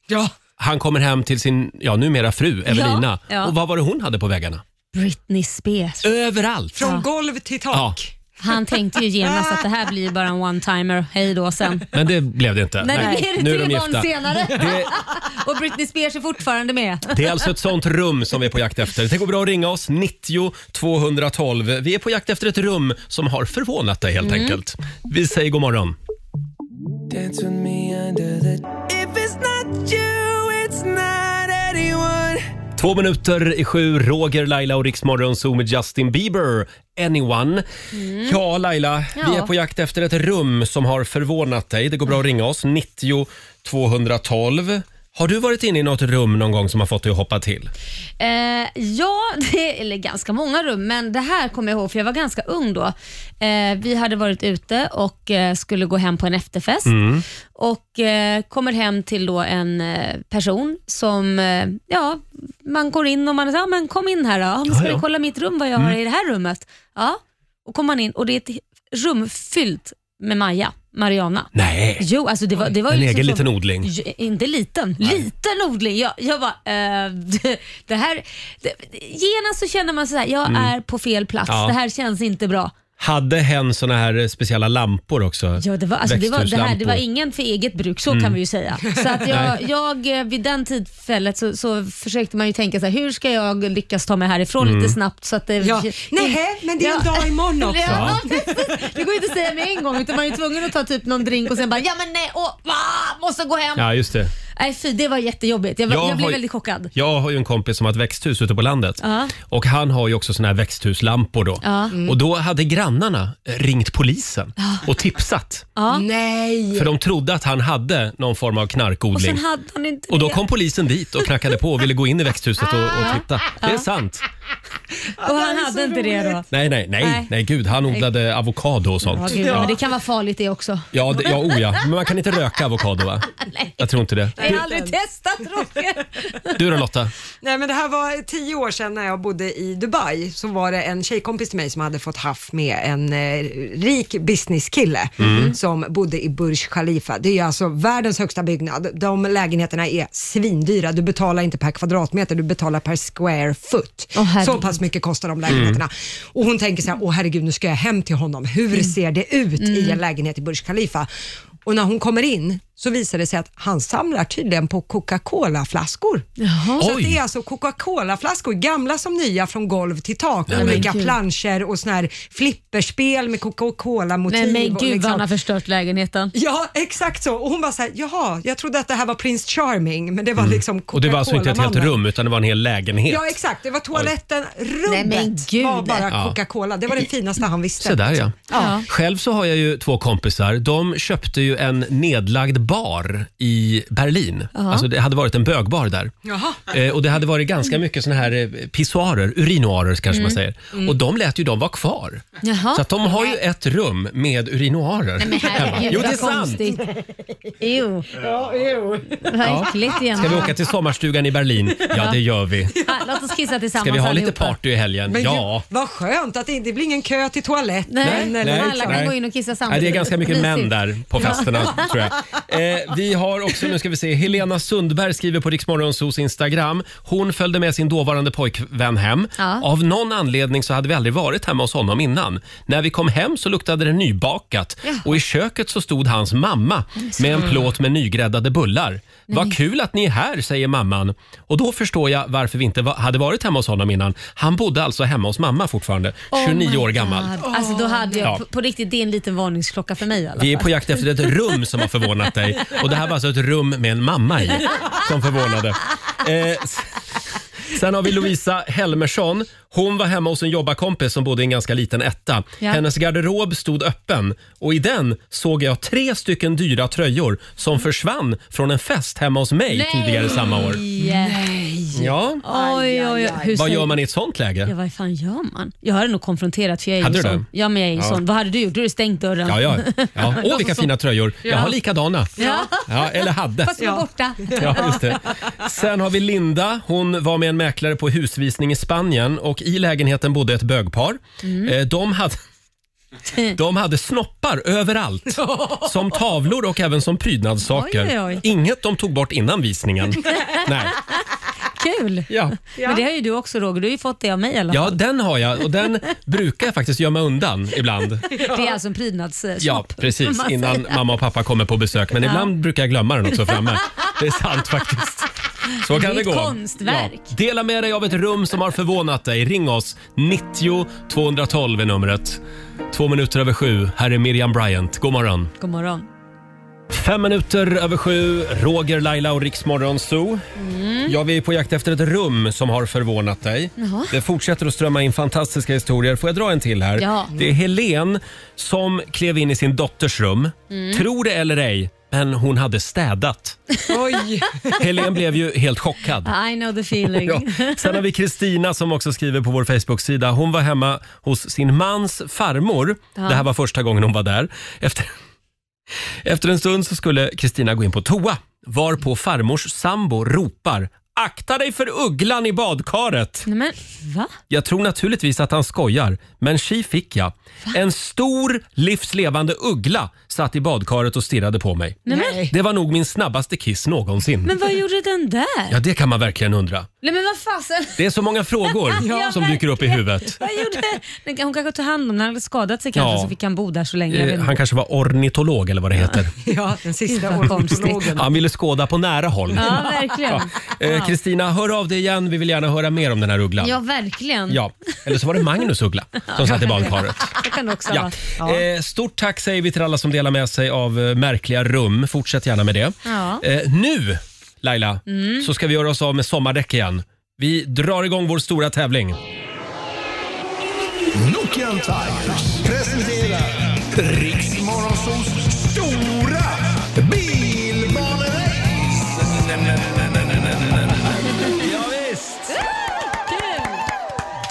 Speaker 2: Ja.
Speaker 1: Han kommer hem till sin, ja numera fru Evelina.
Speaker 4: Ja, ja.
Speaker 1: Och vad var det hon hade på väggarna?
Speaker 4: Britney Spears.
Speaker 1: Överallt!
Speaker 2: Från golv till
Speaker 1: Ja,
Speaker 2: tak.
Speaker 4: Han tänkte ju genast att det här blir bara en one-timer, hej då sen.
Speaker 1: men det blev det inte.
Speaker 4: Nej, det blir
Speaker 1: nu
Speaker 4: det
Speaker 1: är de
Speaker 4: tre
Speaker 1: gifta.
Speaker 4: barn senare
Speaker 1: Det,
Speaker 4: (laughs) och Britney Spears är fortfarande med.
Speaker 1: Det är alltså ett sånt rum som vi är på jakt efter. Det går bra att ringa oss, 90 212. Vi är på jakt efter ett rum som har förvånat dig helt
Speaker 4: Mm.
Speaker 1: enkelt. Vi säger god morgon. Två minuter i sju, Roger, Laila och Riksmorgon Zoo med Justin Bieber, Anyone. Ja, Laila, vi
Speaker 4: Mm. Ja.
Speaker 1: är på jakt efter ett rum som har förvånat dig. Det går bra att ringa oss, 90 212. Har du varit inne i något rum någon gång som har fått dig att hoppa till?
Speaker 4: Eh, ja, (laughs) det, eller ganska många rum, men det här kommer jag ihåg för jag var ganska ung då. Eh, vi hade varit ute och eh, skulle gå hem på en efterfest
Speaker 1: Mm.
Speaker 4: och eh, kommer hem till då en eh, person som, eh, ja, man går in och man säger, ja, men kom in här då, ja, men ska
Speaker 1: Ja, Mm. ja.
Speaker 4: du kolla mitt rum, vad jag har i det här rummet? Ja, och kommer man in och det är ett rum fyllt med Maja, Mariana.
Speaker 1: Nej.
Speaker 4: Jo, alltså det var, det var
Speaker 1: En
Speaker 4: ju
Speaker 1: egen
Speaker 4: som-
Speaker 1: liten odling.
Speaker 4: J- Inte liten, liten odling. Jag, jag bara, eh, (laughs) det- det här... Det, genast så känner man så här, jag är på fel plats.
Speaker 1: Mm. Ja.
Speaker 4: Det här känns inte bra.
Speaker 1: Hade hen såna här speciella lampor också?
Speaker 4: Ja, det, var, alltså, det, var, det, här, det var
Speaker 1: Växthuslampor.
Speaker 4: ingen för eget bruk, så
Speaker 1: Mm.
Speaker 4: kan vi ju säga.
Speaker 1: (laughs)
Speaker 4: Så att jag, jag, eh, vid den tillfället så, så försökte man ju tänka så här, hur ska jag lyckas ta mig härifrån
Speaker 1: Mm.
Speaker 4: lite snabbt? Så att det,
Speaker 2: Ja. Nej, men det är en dag imorgon också.
Speaker 4: (laughs) Ja, precis. Det går ju inte att säga med en gång utan man är ju tvungen att ta typ någon drink och sen bara ja men nej, åh, ah, måste gå hem.
Speaker 1: Ja, just det.
Speaker 4: Nej fy, det var jättejobbigt. Jag, var- jag blev
Speaker 1: har ju-
Speaker 4: väldigt chockad.
Speaker 1: Jag har ju en kompis som har ett växthus ute på landet.
Speaker 4: Ja.
Speaker 1: Och Han har ju också såna här växthuslampor. Då.
Speaker 4: Ja.
Speaker 1: Och då hade grannarna ringt polisen och tipsat.
Speaker 2: Nej.
Speaker 1: För de trodde att han hade någon form av
Speaker 4: Och
Speaker 1: knarkodling.
Speaker 4: sen hade han inte
Speaker 1: Och då
Speaker 4: det. Ah.
Speaker 1: kom polisen dit och knackade på och ville gå in i växthuset och, och titta. Det är sant.
Speaker 4: och han hade inte det då.
Speaker 1: Nej, nej, nej,
Speaker 4: Nej.
Speaker 1: nej gud. Han odlade avokado och sånt.
Speaker 4: Ja, gud, men det kan vara farligt det också.
Speaker 1: Ja, det, ja, oh ja. Men man kan inte röka avokado va?
Speaker 4: (laughs) Nej.
Speaker 1: Jag tror inte det.
Speaker 4: Jag har aldrig testat (laughs) Roger.
Speaker 1: Du då Lotta?
Speaker 2: Nej, men det här var tio år sedan när jag bodde i Dubai. Så var det en tjejkompis till mig som hade fått haff med en eh, rik businesskille som bodde i Burj Khalifa. Det är ju alltså världens högsta byggnad. De lägenheterna är svindyra. Du betalar inte per kvadratmeter, du betalar per square foot.
Speaker 4: Åh, herregud.
Speaker 2: så pass mycket kostar de lägenheterna. Och hon tänker så här, åh herregud, nu ska jag hem till honom. Hur ser det ut i en lägenhet i Burj Khalifa? Och när hon kommer in så visar det sig att han samlar tydligen på Coca-Cola-flaskor. Så att
Speaker 1: Oj.
Speaker 2: det är alltså Coca-Cola-flaskor, gamla som nya, från golv till tak.
Speaker 1: Nej, men
Speaker 2: olika
Speaker 4: gud.
Speaker 2: planscher och sån här flipperspel med Coca-Cola-motiv.
Speaker 4: Nej men
Speaker 2: och
Speaker 4: gud vad
Speaker 2: liksom-
Speaker 4: han har förstört lägenheten.
Speaker 2: Ja, exakt så. Och hon bara såhär, jaha, jag trodde att det här var Prince Charming, men det var liksom Coca-Cola-mannen.
Speaker 1: Och det var alltså inte ett helt rum utan det var en hel lägenhet.
Speaker 2: Ja, exakt. Det var toaletten. Rummet
Speaker 4: men gud.
Speaker 2: var bara
Speaker 1: Ja.
Speaker 2: Coca-Cola. Det var det finaste han visste.
Speaker 1: Så där ja.
Speaker 4: Ja.
Speaker 1: Själv så har jag ju två kompisar. De köpte ju en nedlagd bar i Berlin. Alltså det hade varit en bögbar där.
Speaker 2: Jaha.
Speaker 1: Eh, och det hade varit ganska mycket såna här eh, pissoarer, urinoarer kanske man säger. Och de lät ju dem vara kvar.
Speaker 4: Mm. Jaha.
Speaker 1: Så att de har ju ett rum med urinoarer.
Speaker 4: Men
Speaker 1: hemma.
Speaker 4: herregud
Speaker 1: jo, det är
Speaker 4: vad
Speaker 1: sant.
Speaker 4: konstigt. Jo, vad äckligt igen.
Speaker 1: Ska vi åka till sommarstugan i Berlin? Ja, det gör vi.
Speaker 4: Ja, låt oss kissa tillsammans
Speaker 1: Ska vi ha lite
Speaker 4: allihopa.
Speaker 1: party i helgen?
Speaker 2: Men
Speaker 1: Ja.
Speaker 2: gud, vad skönt att det inte det blir ingen kö till toaletten.
Speaker 4: Nej,
Speaker 2: eller- liksom.
Speaker 1: nej,
Speaker 4: alla kan
Speaker 1: nej.
Speaker 4: gå in och kissa
Speaker 1: Nej,
Speaker 4: samtidigt.
Speaker 1: det är ganska mycket män
Speaker 4: Mysigt.
Speaker 1: där på
Speaker 4: (laughs)
Speaker 1: festerna tror jag. Eh, vi har också, nu ska vi se, Helena Sundberg skriver på Riksmorgonsos Instagram. Hon följde med sin dåvarande pojkvän hem.
Speaker 4: Ja.
Speaker 1: Av någon anledning så hade vi aldrig varit hemma hos honom innan. När vi kom hem så luktade det nybakat och i köket så stod hans mamma med en plåt med nygräddade bullar. Vad kul att ni är här, säger mamman. Och då förstår jag varför vi inte va- hade varit hemma hos honom innan. Han bodde alltså hemma hos mamma fortfarande,
Speaker 4: Oh
Speaker 1: 29 år
Speaker 4: my
Speaker 1: gammal.
Speaker 4: God. Alltså då hade jag
Speaker 1: Ja.
Speaker 4: på, på riktigt, det är en liten varningsklocka för mig i alla
Speaker 1: Vi är
Speaker 4: fall.
Speaker 1: på jakt efter ett rum som har förvånat dig. Och det här var alltså ett rum med en mamma i som förvånade. Eh, s- sen har vi Lovisa Helmersson. Hon var hemma hos en jobbarkompis som bodde i en ganska liten etta.
Speaker 4: Ja.
Speaker 1: Hennes garderob stod öppen och i den såg jag tre stycken dyra tröjor som försvann från en fest hemma hos mig
Speaker 4: Nej.
Speaker 1: tidigare samma år.
Speaker 4: Nej.
Speaker 1: Ja,
Speaker 4: Oj, oj, oj. Hur
Speaker 1: vad
Speaker 4: säger-
Speaker 1: gör man i ett sånt
Speaker 4: Ja,
Speaker 1: läge?
Speaker 4: vad fan gör man? Jag hade nog konfronterat för jag är
Speaker 1: Hade
Speaker 4: ju
Speaker 1: du
Speaker 4: sån.
Speaker 1: det?
Speaker 4: Ja, men jag är ju sån. Vad hade du gjort? Du hade stängt dörren.
Speaker 1: Ja, ja. ja. Åh, vilka fina tröjor. Jag har likadana.
Speaker 4: (laughs) Ja.
Speaker 1: Ja, eller hade.
Speaker 4: Fast ja. borta.
Speaker 1: (laughs) Ja, just det. Sen har vi Linda. Hon var med en mäklare på husvisning i Spanien och i lägenheten bodde ett bögpar.
Speaker 4: Mm.
Speaker 1: Eh, De hade de hade snoppar
Speaker 4: (laughs)
Speaker 1: överallt, som tavlor och även som prydnadssaker.
Speaker 4: Oj, oj, oj.
Speaker 1: Inget de tog bort innan
Speaker 4: (laughs)
Speaker 1: visningen. Nej.
Speaker 4: (laughs) Kul!
Speaker 1: Ja.
Speaker 4: Men det har ju du också Roger. Du har ju fått det av mig i alla fall.
Speaker 1: ja, den har jag och den brukar jag faktiskt gömma undan ibland.
Speaker 4: Det är alltså en prydnadssnopp.
Speaker 1: Ja, precis. Innan mamma och pappa kommer på besök. Men ibland brukar jag glömma den också framme. Det är
Speaker 4: (laughs)
Speaker 1: sant faktiskt. Så kan
Speaker 4: är
Speaker 1: det,
Speaker 4: ett
Speaker 1: gå.
Speaker 4: konstverk.
Speaker 1: Dela med dig av ett rum som har förvånat dig. Ring oss. 90 212 är numret. Två minuter över sju. Här är Miriam Bryant. God morgon.
Speaker 4: God morgon.
Speaker 1: Fem minuter över sju. Roger, Laila och Riksmorgon Zoo. Ja, vi är på jakt efter ett rum som har förvånat dig.
Speaker 4: Mm. Jaha.
Speaker 1: Det fortsätter att strömma in fantastiska historier. Får jag dra en till här?
Speaker 4: Ja.
Speaker 1: Det är Helen som klev in i sin dotters rum.
Speaker 4: Mm.
Speaker 1: Tror det eller ej, men hon hade
Speaker 4: (laughs)
Speaker 1: städat.
Speaker 2: Oj.
Speaker 1: Helen blev ju helt chockad.
Speaker 4: I know the feeling.
Speaker 1: (laughs)
Speaker 4: (laughs)
Speaker 1: Ja. Sen har vi Kristina som också skriver på vår Facebook-sida. Hon var hemma hos sin mans farmor. Det här var första gången hon var där. Efter, efter en stund så skulle Kristina gå in på toa varpå farmors sambo ropar “Akta dig för ugglan i badkaret!”
Speaker 4: Nej, men va?
Speaker 1: Jag tror naturligtvis att han skojar, men tji fick jag. En stor, livslevande uggla satt i badkaret och stirrade på mig.
Speaker 4: Nej, men,
Speaker 1: Det var nog min snabbaste kiss någonsin.
Speaker 4: men vad gjorde den där?
Speaker 1: Ja, det kan man verkligen undra.
Speaker 4: Nej men vad fasen. (laughs)
Speaker 1: Det är så många frågor
Speaker 4: Ja,
Speaker 1: som dyker upp i huvudet.
Speaker 4: Vad gjorde? Den kan- Hon kanske tog hand om den, han hade skadat sig kanske
Speaker 1: Ja.
Speaker 4: så fick han bo där så länge. Jag vet
Speaker 1: Eh,
Speaker 4: inte.
Speaker 1: Han kanske var ornitolog eller vad det heter.
Speaker 2: Ja, den sista
Speaker 4: Gud, vad konstigt.
Speaker 2: ornitologen.
Speaker 1: Han ville skåda på nära håll.
Speaker 4: Ja, verkligen.
Speaker 1: Eh, Kristina, hör av dig igen. Vi vill gärna höra mer om den här ugglan.
Speaker 4: Ja, verkligen.
Speaker 1: Ja. Eller så var det Magnus uggla som satt i badkaret.
Speaker 4: Det kan det också
Speaker 1: Ja.
Speaker 4: vara.
Speaker 1: Eh, stort tack säger vi till alla som delar med sig av eh, märkliga rum. Fortsätt gärna med det.
Speaker 4: Ja. Mm.
Speaker 1: Eh, nu, Laila, så ska vi göra oss av med sommardäck igen. Vi drar igång vår stora tävling.
Speaker 3: Nokian Tigers presenterar Riksmorgonsols stora bilbanerace.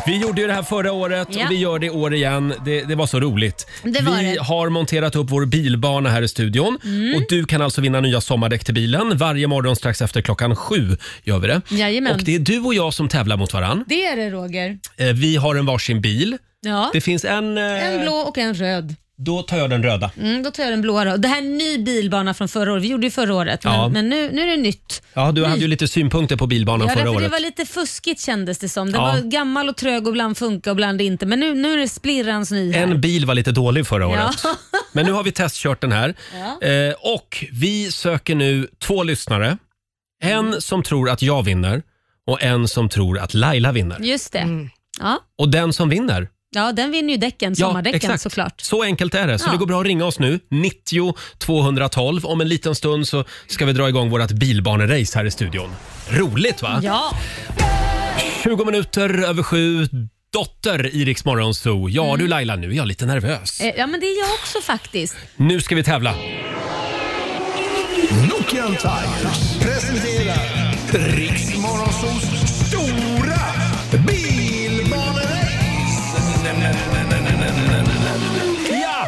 Speaker 1: Vi gjorde ju det här förra året
Speaker 4: Ja.
Speaker 1: och vi gör det i år igen. Det, det var så roligt.
Speaker 4: Det var
Speaker 1: vi
Speaker 4: det. Mm.
Speaker 1: har monterat upp vår bilbana här i studion och du kan alltså vinna nya sommardäck till bilen. Varje morgon strax efter klockan sju gör vi det.
Speaker 4: Jajamän.
Speaker 1: Och det är du och jag som tävlar mot varann.
Speaker 4: Det är det Roger.
Speaker 1: Eh, Vi har en varsin bil.
Speaker 4: Ja.
Speaker 1: Det finns en... eh,
Speaker 4: En blå och en röd.
Speaker 1: Då tar jag den röda.
Speaker 4: Mm, då tar jag den blåa då. Det här är en ny bilbana från förra året. Vi gjorde ju förra året, men,
Speaker 1: Ja.
Speaker 4: men nu, nu är det nytt.
Speaker 1: Ja, du hade ju lite synpunkter på bilbanan
Speaker 4: Ja,
Speaker 1: förra
Speaker 4: därför det
Speaker 1: året.
Speaker 4: var lite fuskigt kändes det som. Den
Speaker 1: Ja.
Speaker 4: var gammal och trög och ibland funkar och ibland inte. Men nu, nu är det splirrans ny här.
Speaker 1: En bil var lite dålig förra året.
Speaker 4: Ja.
Speaker 1: Men nu har vi testkört den här.
Speaker 4: Ja.
Speaker 1: Eh, och vi söker nu två lyssnare. En
Speaker 4: Mm.
Speaker 1: som tror att jag vinner och en som tror att Laila vinner.
Speaker 4: Just det. Ja.
Speaker 1: Och den som vinner,
Speaker 4: ja, den vinner ju däcken, sommardäcken såklart.
Speaker 1: Så enkelt är det. Så
Speaker 4: Ja.
Speaker 1: det går bra att ringa oss nu, 90 212. Om en liten stund så ska vi dra igång vårt bilbanerace här i studion. Roligt va?
Speaker 4: Ja,
Speaker 1: 20 minuter över sju. Dotter i Rix Morgon Zoo. Ja
Speaker 4: Mm.
Speaker 1: du Laila, nu är jag lite nervös.
Speaker 4: Eh, ja men det är jag också faktiskt.
Speaker 1: Nu ska vi tävla.
Speaker 3: Nokian Tigers presenterar Riksmorgonsols stora bilbanerace.
Speaker 1: Ja!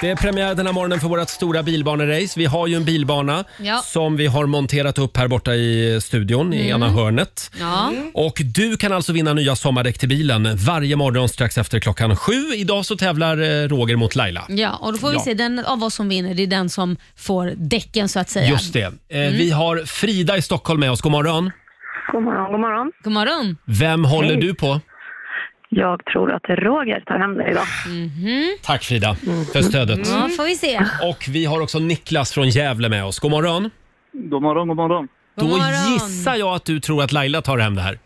Speaker 1: Det är premiär den här morgonen för vårt stora bilbanerace. Vi har ju en bilbana
Speaker 4: Ja.
Speaker 1: som vi har monterat upp här borta i studion i
Speaker 4: Mm.
Speaker 1: ena hörnet.
Speaker 4: Ja.
Speaker 1: Och du kan alltså vinna nya sommardäck till bilen varje morgon strax efter klockan sju. Idag så tävlar eh, Roger mot Laila.
Speaker 4: ja, och då får vi
Speaker 1: Ja.
Speaker 4: se. Den av oss som vinner, det är den som får däcken så att säga.
Speaker 1: Just det. Eh,
Speaker 4: Mm.
Speaker 1: Vi har Frida i Stockholm med oss. God morgon.
Speaker 8: God morgon, god morgon.
Speaker 4: God morgon.
Speaker 1: Vem håller du på?
Speaker 8: Jag tror att Roger tar hem det idag.
Speaker 1: Tack Frida för stödet.
Speaker 4: Ja, får vi se.
Speaker 1: Och vi har också Niklas från Gävle med oss. God morgon.
Speaker 6: God morgon, god morgon.
Speaker 4: God
Speaker 1: Då
Speaker 4: morgon.
Speaker 1: gissar jag att du tror att Laila tar hem det här.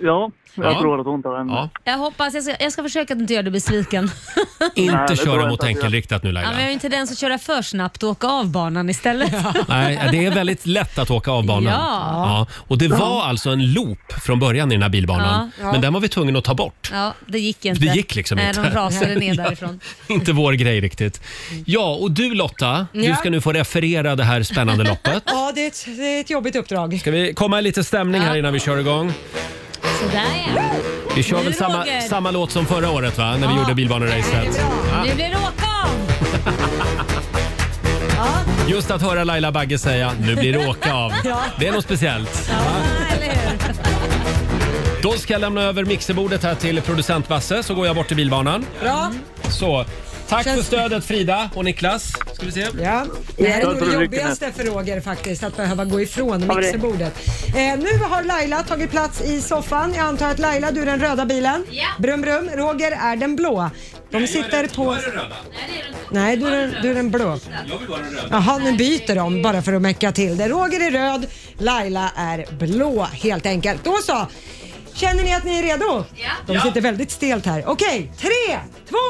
Speaker 6: Ja, jag
Speaker 1: Ja.
Speaker 6: tror att hon tar en.
Speaker 1: Ja.
Speaker 4: Jag hoppas, jag ska, jag ska försöka att inte göra dig besviken.
Speaker 6: Nej,
Speaker 1: Inte
Speaker 6: det tror
Speaker 1: köra
Speaker 6: jag
Speaker 1: mot
Speaker 6: inte att jag-
Speaker 1: enkelriktat nu
Speaker 4: Ja,
Speaker 1: Laila.
Speaker 4: men jag är ju inte den som köra för snabbt och åka av
Speaker 1: (laughs)
Speaker 4: banan istället.
Speaker 1: Nej, det är väldigt lätt att åka av banan.
Speaker 4: Ja.
Speaker 1: Och det var alltså en loop från början i den här bilbanan.
Speaker 4: Ja.
Speaker 1: Men den var vi tvungna att ta bort. (laughs)
Speaker 4: Ja, det gick inte.
Speaker 1: Det gick liksom
Speaker 4: Nej,
Speaker 1: inte.
Speaker 4: De rasade ner
Speaker 1: (laughs) Ja.
Speaker 4: därifrån.
Speaker 1: Inte vår grej riktigt. Ja, och du Lotta, du
Speaker 2: Ja.
Speaker 1: ska nu få referera det här spännande loppet.
Speaker 2: Ja, det är ett, det är ett jobbigt uppdrag.
Speaker 1: Ska vi komma i lite stämning här
Speaker 4: Ja.
Speaker 1: innan vi kör igång?
Speaker 4: Sådär ja.
Speaker 1: Vi kör
Speaker 4: Nu,
Speaker 1: väl samma,
Speaker 4: Roger.
Speaker 1: samma låt som förra året va? När vi
Speaker 4: Ja.
Speaker 1: gjorde bilbaneracet.
Speaker 4: Nu blir det åka av.
Speaker 1: Just att höra Laila Bagge säga “Nu blir det åka av”. Det är något speciellt.
Speaker 4: Ja, eller hur?
Speaker 1: Då ska jag lämna över mixerbordet här till producent Basse så går jag bort till bilbanan.
Speaker 2: Bra.
Speaker 1: Så, tack för stödet Frida och Niklas. Ska vi se.
Speaker 2: Ja. Det här är nog
Speaker 6: tror
Speaker 2: det
Speaker 6: det
Speaker 2: jobbigaste för Roger faktiskt, att behöva gå ifrån mixerbordet. Eh, nu har Laila tagit plats i soffan. Jag antar att Laila, du är den röda bilen.
Speaker 4: Ja.
Speaker 2: Brum, brum. Roger är den blå. De sitter på... Nej, du är, den- du är den blå. Jaha, nu byter de bara för att mäcka till det. Roger är röd, Laila är blå helt enkelt. Då så. Känner ni att ni är redo? Ja. De sitter väldigt stelt här. Okej, tre, två,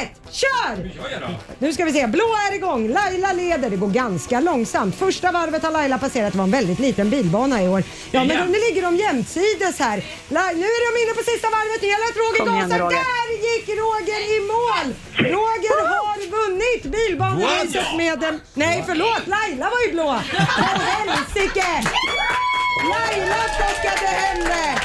Speaker 2: ett, kör! Nu ska vi se, blå är igång, Laila leder, det går ganska långsamt. Första varvet har Laila passerat, det var en väldigt liten bilbana i år. Ja men nu ligger de jämsides här. La- nu är de inne på sista varvet, nu gäller det att Roger
Speaker 8: Kom igen,
Speaker 2: gasar.
Speaker 8: Roger.
Speaker 2: Där gick Roger i mål! Roger har vunnit bilbaneracet med en... Nej förlåt, Laila var ju blå! För helsike! Laila plockade hem det!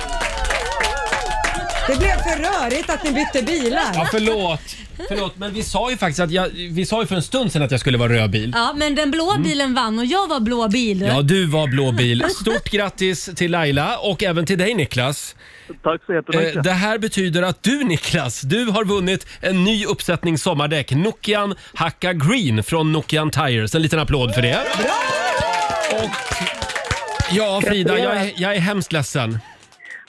Speaker 2: Det blev för rörigt att ni bytte bilar.
Speaker 1: Ja, förlåt. Förlåt, men vi sa ju faktiskt att jag, vi sa ju för en stund sedan att jag skulle vara röd bil.
Speaker 4: Ja, men den blå bilen vann och jag var blå bil.
Speaker 1: Mm. Ja, du var blå bil. Stort grattis till Laila och även till dig Niklas.
Speaker 6: Tack så
Speaker 1: Eh,
Speaker 6: jättemycket.
Speaker 1: Det här betyder att du Niklas, du har vunnit en ny uppsättning sommardäck. Nokian Hakka Green från Nokian Tires. En liten applåd för det. Och, ja, Frida, jag är, jag är hemskt ledsen.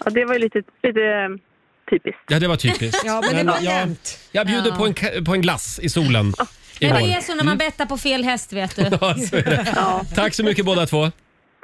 Speaker 8: Ja, det var ju lite, lite eh, typiskt.
Speaker 1: Ja, det var typiskt.
Speaker 2: Ja, men det var
Speaker 1: jag,
Speaker 2: jämnt.
Speaker 1: jag bjuder på, en, ka- på en glass i solen.
Speaker 4: Men
Speaker 1: Igår.
Speaker 4: det är så när man bettar på fel häst vet
Speaker 1: (laughs)
Speaker 4: du.
Speaker 1: Mm. Ja, så är det. Tack så mycket båda två.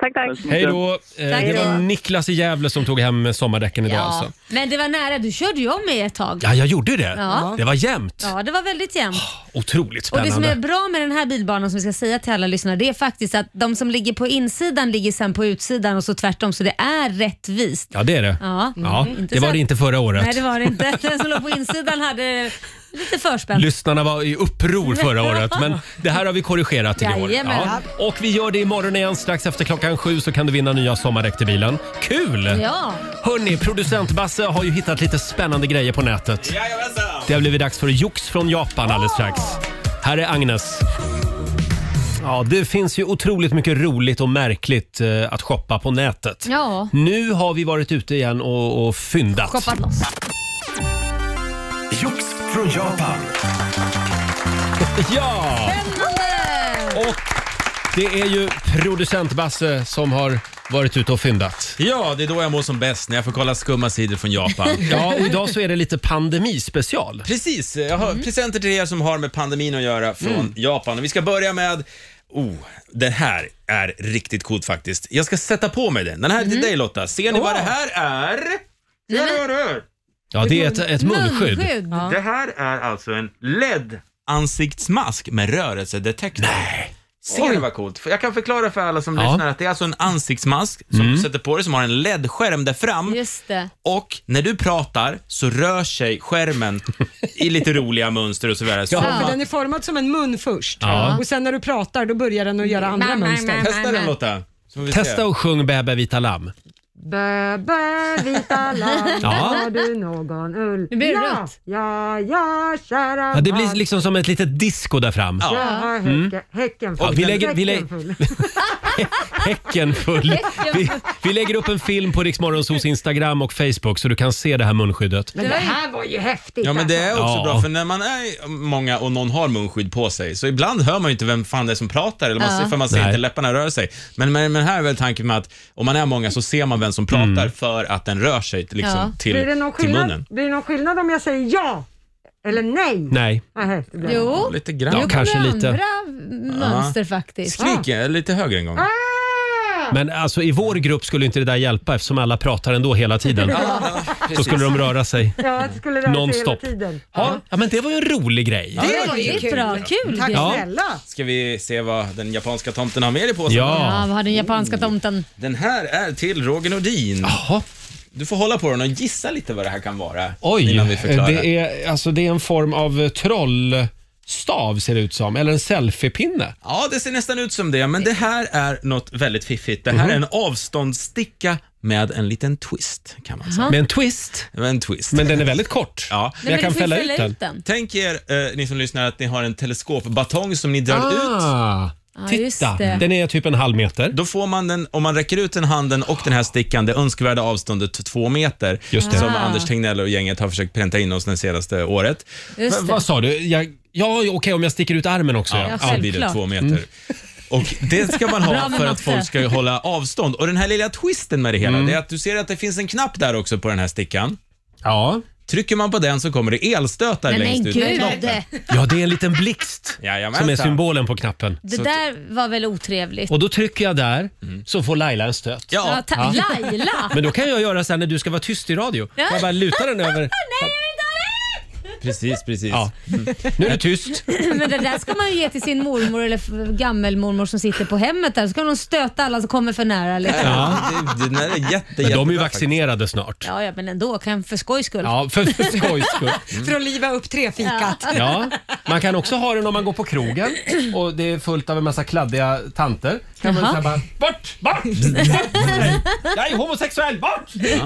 Speaker 8: Tack, tack.
Speaker 1: Hej då. Eh, Det var Niklas i Gävle som tog hem sommardäcken idag.
Speaker 4: Ja.
Speaker 1: Alltså.
Speaker 4: Men det var nära, du körde ju om mig ett tag.
Speaker 1: Ja, jag gjorde ju det.
Speaker 4: Ja.
Speaker 1: Det var jämnt.
Speaker 4: Ja, det var väldigt jämnt.
Speaker 1: Otroligt
Speaker 4: Och det som
Speaker 1: spännande.
Speaker 4: är bra med den här bilbanan som vi ska säga till alla lyssnare det är faktiskt att de som ligger på insidan ligger sen på utsidan och så tvärtom så det är rättvist.
Speaker 1: Ja, det är det.
Speaker 4: Ja.
Speaker 1: Ja,
Speaker 4: Mm.
Speaker 1: det var det inte förra året.
Speaker 4: Nej det var det inte. Den som låg på insidan hade lite förspänt.
Speaker 1: Lyssnarna var i uppror förra året, men det här har vi korrigerat till i år.
Speaker 4: Jajamän.
Speaker 1: Och vi gör det imorgon igen. Strax efter klockan sju så kan du vinna nya sommardäck till bilen. Kul!
Speaker 4: Ja.
Speaker 1: Hörni, producent Basse har ju hittat lite spännande grejer på nätet. Det har blivit dags för jox från Japan alldeles strax. Här är Agnes. Ja, det finns ju otroligt mycket roligt och märkligt eh, att shoppa på nätet.
Speaker 4: Ja.
Speaker 1: Nu har vi varit ute igen och, och fyndat.
Speaker 4: Shoppat loss.
Speaker 3: Jox från Japan.
Speaker 1: Ja! Och det är ju producent Basse som har varit ute och fyndat.
Speaker 7: Ja, det är då jag mår som bäst, när jag får kolla skumma sidor
Speaker 8: (laughs)
Speaker 7: från Japan.
Speaker 1: Ja, och idag så är det lite pandemispecial.
Speaker 7: Precis, jag har
Speaker 8: Mm.
Speaker 7: presenter till er som har med pandemin att göra från Japan. Och vi ska börja med, oh, det här är riktigt coolt faktiskt. Jag ska sätta på mig den. Den här är
Speaker 8: Mm.
Speaker 7: till dig Lotta. Ser ni vad det här är? Ser ni vad det är?
Speaker 1: Ja, det är ett, ett munskydd.
Speaker 4: Munskydd. Ja.
Speaker 7: Det här är alltså en LED-ansiktsmask med rörelsedetektor. Nej. Ser du vad coolt? För Jag kan förklara för alla som
Speaker 1: Ja.
Speaker 7: lyssnar att det är alltså en ansiktsmask som du sätter på dig som har en LED-skärm där fram.
Speaker 4: Just det.
Speaker 7: Och när du pratar så rör sig skärmen i lite roliga mönster och så vidare. Så
Speaker 1: Ja.
Speaker 7: får
Speaker 2: För
Speaker 7: man-
Speaker 2: den är formad som en mun först
Speaker 1: Ja.
Speaker 2: och sen när du pratar då börjar den att göra andra
Speaker 4: Nej, nej,
Speaker 2: mönster.
Speaker 4: nej.
Speaker 7: Testa den Lotta. så får vi se.
Speaker 1: Testa och sjung Bä bä vita lamm.
Speaker 2: Bö, bö, vita lamm,
Speaker 1: Ja.
Speaker 2: har du någon ull?
Speaker 4: Nu blir det
Speaker 2: ja,
Speaker 4: rött.
Speaker 2: Ja, ja, kära
Speaker 1: Ja, det blir
Speaker 2: barn.
Speaker 1: liksom som ett litet disco där fram.
Speaker 7: Ja.
Speaker 2: Jag har häcken, häcken full.
Speaker 1: Ja, vi lägger- vi
Speaker 2: Häcken full.
Speaker 1: (laughs) Häcken full. Vi, vi lägger upp en film på Riksmorgonsos Instagram och Facebook så du kan se det här munskyddet.
Speaker 2: Men det här var ju häftigt. alltså.
Speaker 7: Ja men det är också
Speaker 1: Ja.
Speaker 7: bra för när man är många och någon har munskydd på sig så ibland hör man ju inte vem fan det är som pratar eller man
Speaker 4: Ja.
Speaker 7: ser, för man ser
Speaker 1: Nej.
Speaker 7: inte läpparna röra sig. Men, men, men här är väl tanken med att om man är många så ser man vem som pratar
Speaker 1: Mm.
Speaker 7: för att den rör sig liksom,
Speaker 4: Ja.
Speaker 7: till,
Speaker 2: Blir det, någon
Speaker 7: till
Speaker 2: skillnad,
Speaker 7: munnen.
Speaker 2: blir det någon skillnad om jag säger ja eller nej?
Speaker 1: Nej.
Speaker 2: Nej, det blir-
Speaker 4: Jo.
Speaker 7: Lite
Speaker 1: Ja,
Speaker 7: grann.
Speaker 4: Jo,
Speaker 1: kanske
Speaker 4: kommer
Speaker 1: lite.
Speaker 4: andra mönster faktiskt.
Speaker 7: Skrik
Speaker 2: Ah.
Speaker 7: eh, lite högre en gång.
Speaker 1: Men alltså i vår grupp skulle inte det där hjälpa eftersom alla pratar ändå hela tiden. Så skulle de röra sig.
Speaker 2: Ja, det skulle röra sig hela
Speaker 1: Nonstop.
Speaker 2: tiden.
Speaker 1: Ja, men det var ju en rolig grej.
Speaker 2: Det var ju
Speaker 4: Väldigt bra, kul
Speaker 2: Tack
Speaker 4: grej.
Speaker 1: Ja.
Speaker 2: snälla.
Speaker 7: Ska vi se vad den japanska tomten har med dig på sig?
Speaker 4: Ja,
Speaker 1: Ja.
Speaker 4: vad har den
Speaker 1: Mm.
Speaker 4: japanska tomten?
Speaker 7: Den här är till Roger Nordin.
Speaker 1: Jaha.
Speaker 7: Du får hålla på den och gissa lite vad det här kan vara
Speaker 1: Oj,
Speaker 7: innan vi förklarar.
Speaker 1: det är, alltså, det är en form av eh, trollstav ser det ut som, eller en selfiepinne.
Speaker 7: Ja, det ser nästan ut som det, men det här är något väldigt fiffigt. Det här är
Speaker 1: Mhm.
Speaker 7: en avståndssticka med en liten twist, kan man säga.
Speaker 1: Med en twist,
Speaker 7: Med en twist.
Speaker 1: men den är väldigt kort.
Speaker 7: Ja.
Speaker 1: Men jag
Speaker 4: men
Speaker 1: kan
Speaker 4: du får ju
Speaker 1: fälla ut den.
Speaker 7: Tänk er, eh, ni som lyssnar, att ni har en teleskopbatong som ni drar ut.
Speaker 1: Ah,
Speaker 4: Ja, just
Speaker 1: titta,
Speaker 4: det.
Speaker 1: den är typ en halv meter.
Speaker 7: Då får man den, om man räcker ut den handen och den här stickan, det önskvärda avståndet två meter.
Speaker 1: Just det.
Speaker 7: Som
Speaker 4: Ah.
Speaker 7: Anders Tegnell och gänget har försökt pränta in oss det senaste året.
Speaker 1: Va,
Speaker 4: Just det.
Speaker 1: vad sa du? Jag, ja, okej om jag sticker ut armen också.
Speaker 7: Ja,
Speaker 1: Ja. Mm.
Speaker 7: så blir det
Speaker 4: självklart.
Speaker 7: två meter. Och Det
Speaker 1: (laughs)
Speaker 7: ska man
Speaker 4: Bra
Speaker 7: ha
Speaker 4: med
Speaker 7: för att
Speaker 4: matte.
Speaker 7: folk ska hålla avstånd. Och Den här lilla twisten med det hela,
Speaker 1: Mm.
Speaker 7: det är att du ser att det finns en knapp där också på den här stickan.
Speaker 1: Ja.
Speaker 7: Trycker man på den så kommer det elstötar
Speaker 4: Men,
Speaker 7: längst
Speaker 4: men
Speaker 7: ut med
Speaker 4: gud,
Speaker 7: knoppen.
Speaker 4: det,
Speaker 1: ja, det är en liten
Speaker 4: (laughs)
Speaker 1: blixt
Speaker 7: Jajamensan.
Speaker 1: som är symbolen på knappen.
Speaker 4: det där var väl otrevligt?
Speaker 1: Och då trycker jag där
Speaker 4: Mm.
Speaker 1: så får Laila en stöt.
Speaker 7: Ja,
Speaker 4: Ja, ta- Laila!
Speaker 1: Men då kan jag göra så här när du ska vara tyst i radio. Jag bara lutar den över.
Speaker 7: precis, precis.
Speaker 4: (laughs)
Speaker 1: Ja. Nu är det tyst.
Speaker 4: Men det där ska man ju ge till sin mormor eller f- gammelmormor som sitter på hemmet där. Så kan hon stöta alla som kommer för nära. Liksom.
Speaker 7: Ja. Det, det, den är jätte,
Speaker 1: Men de är ju
Speaker 7: jättebra
Speaker 1: vaccinerade snart.
Speaker 4: Ja, ja, men ändå. Kan för skojs skull.
Speaker 1: Ja, för, för skojs skull.
Speaker 2: För att liva upp trefikat.
Speaker 1: (laughs) Ja. Man kan också ha den om man går på krogen och det är fullt av en massa kladdiga tanter. Kan man
Speaker 4: Jaha.
Speaker 1: säga bara Mm. bort, bort! Nej, Jag är homosexuell, bort!
Speaker 2: Nu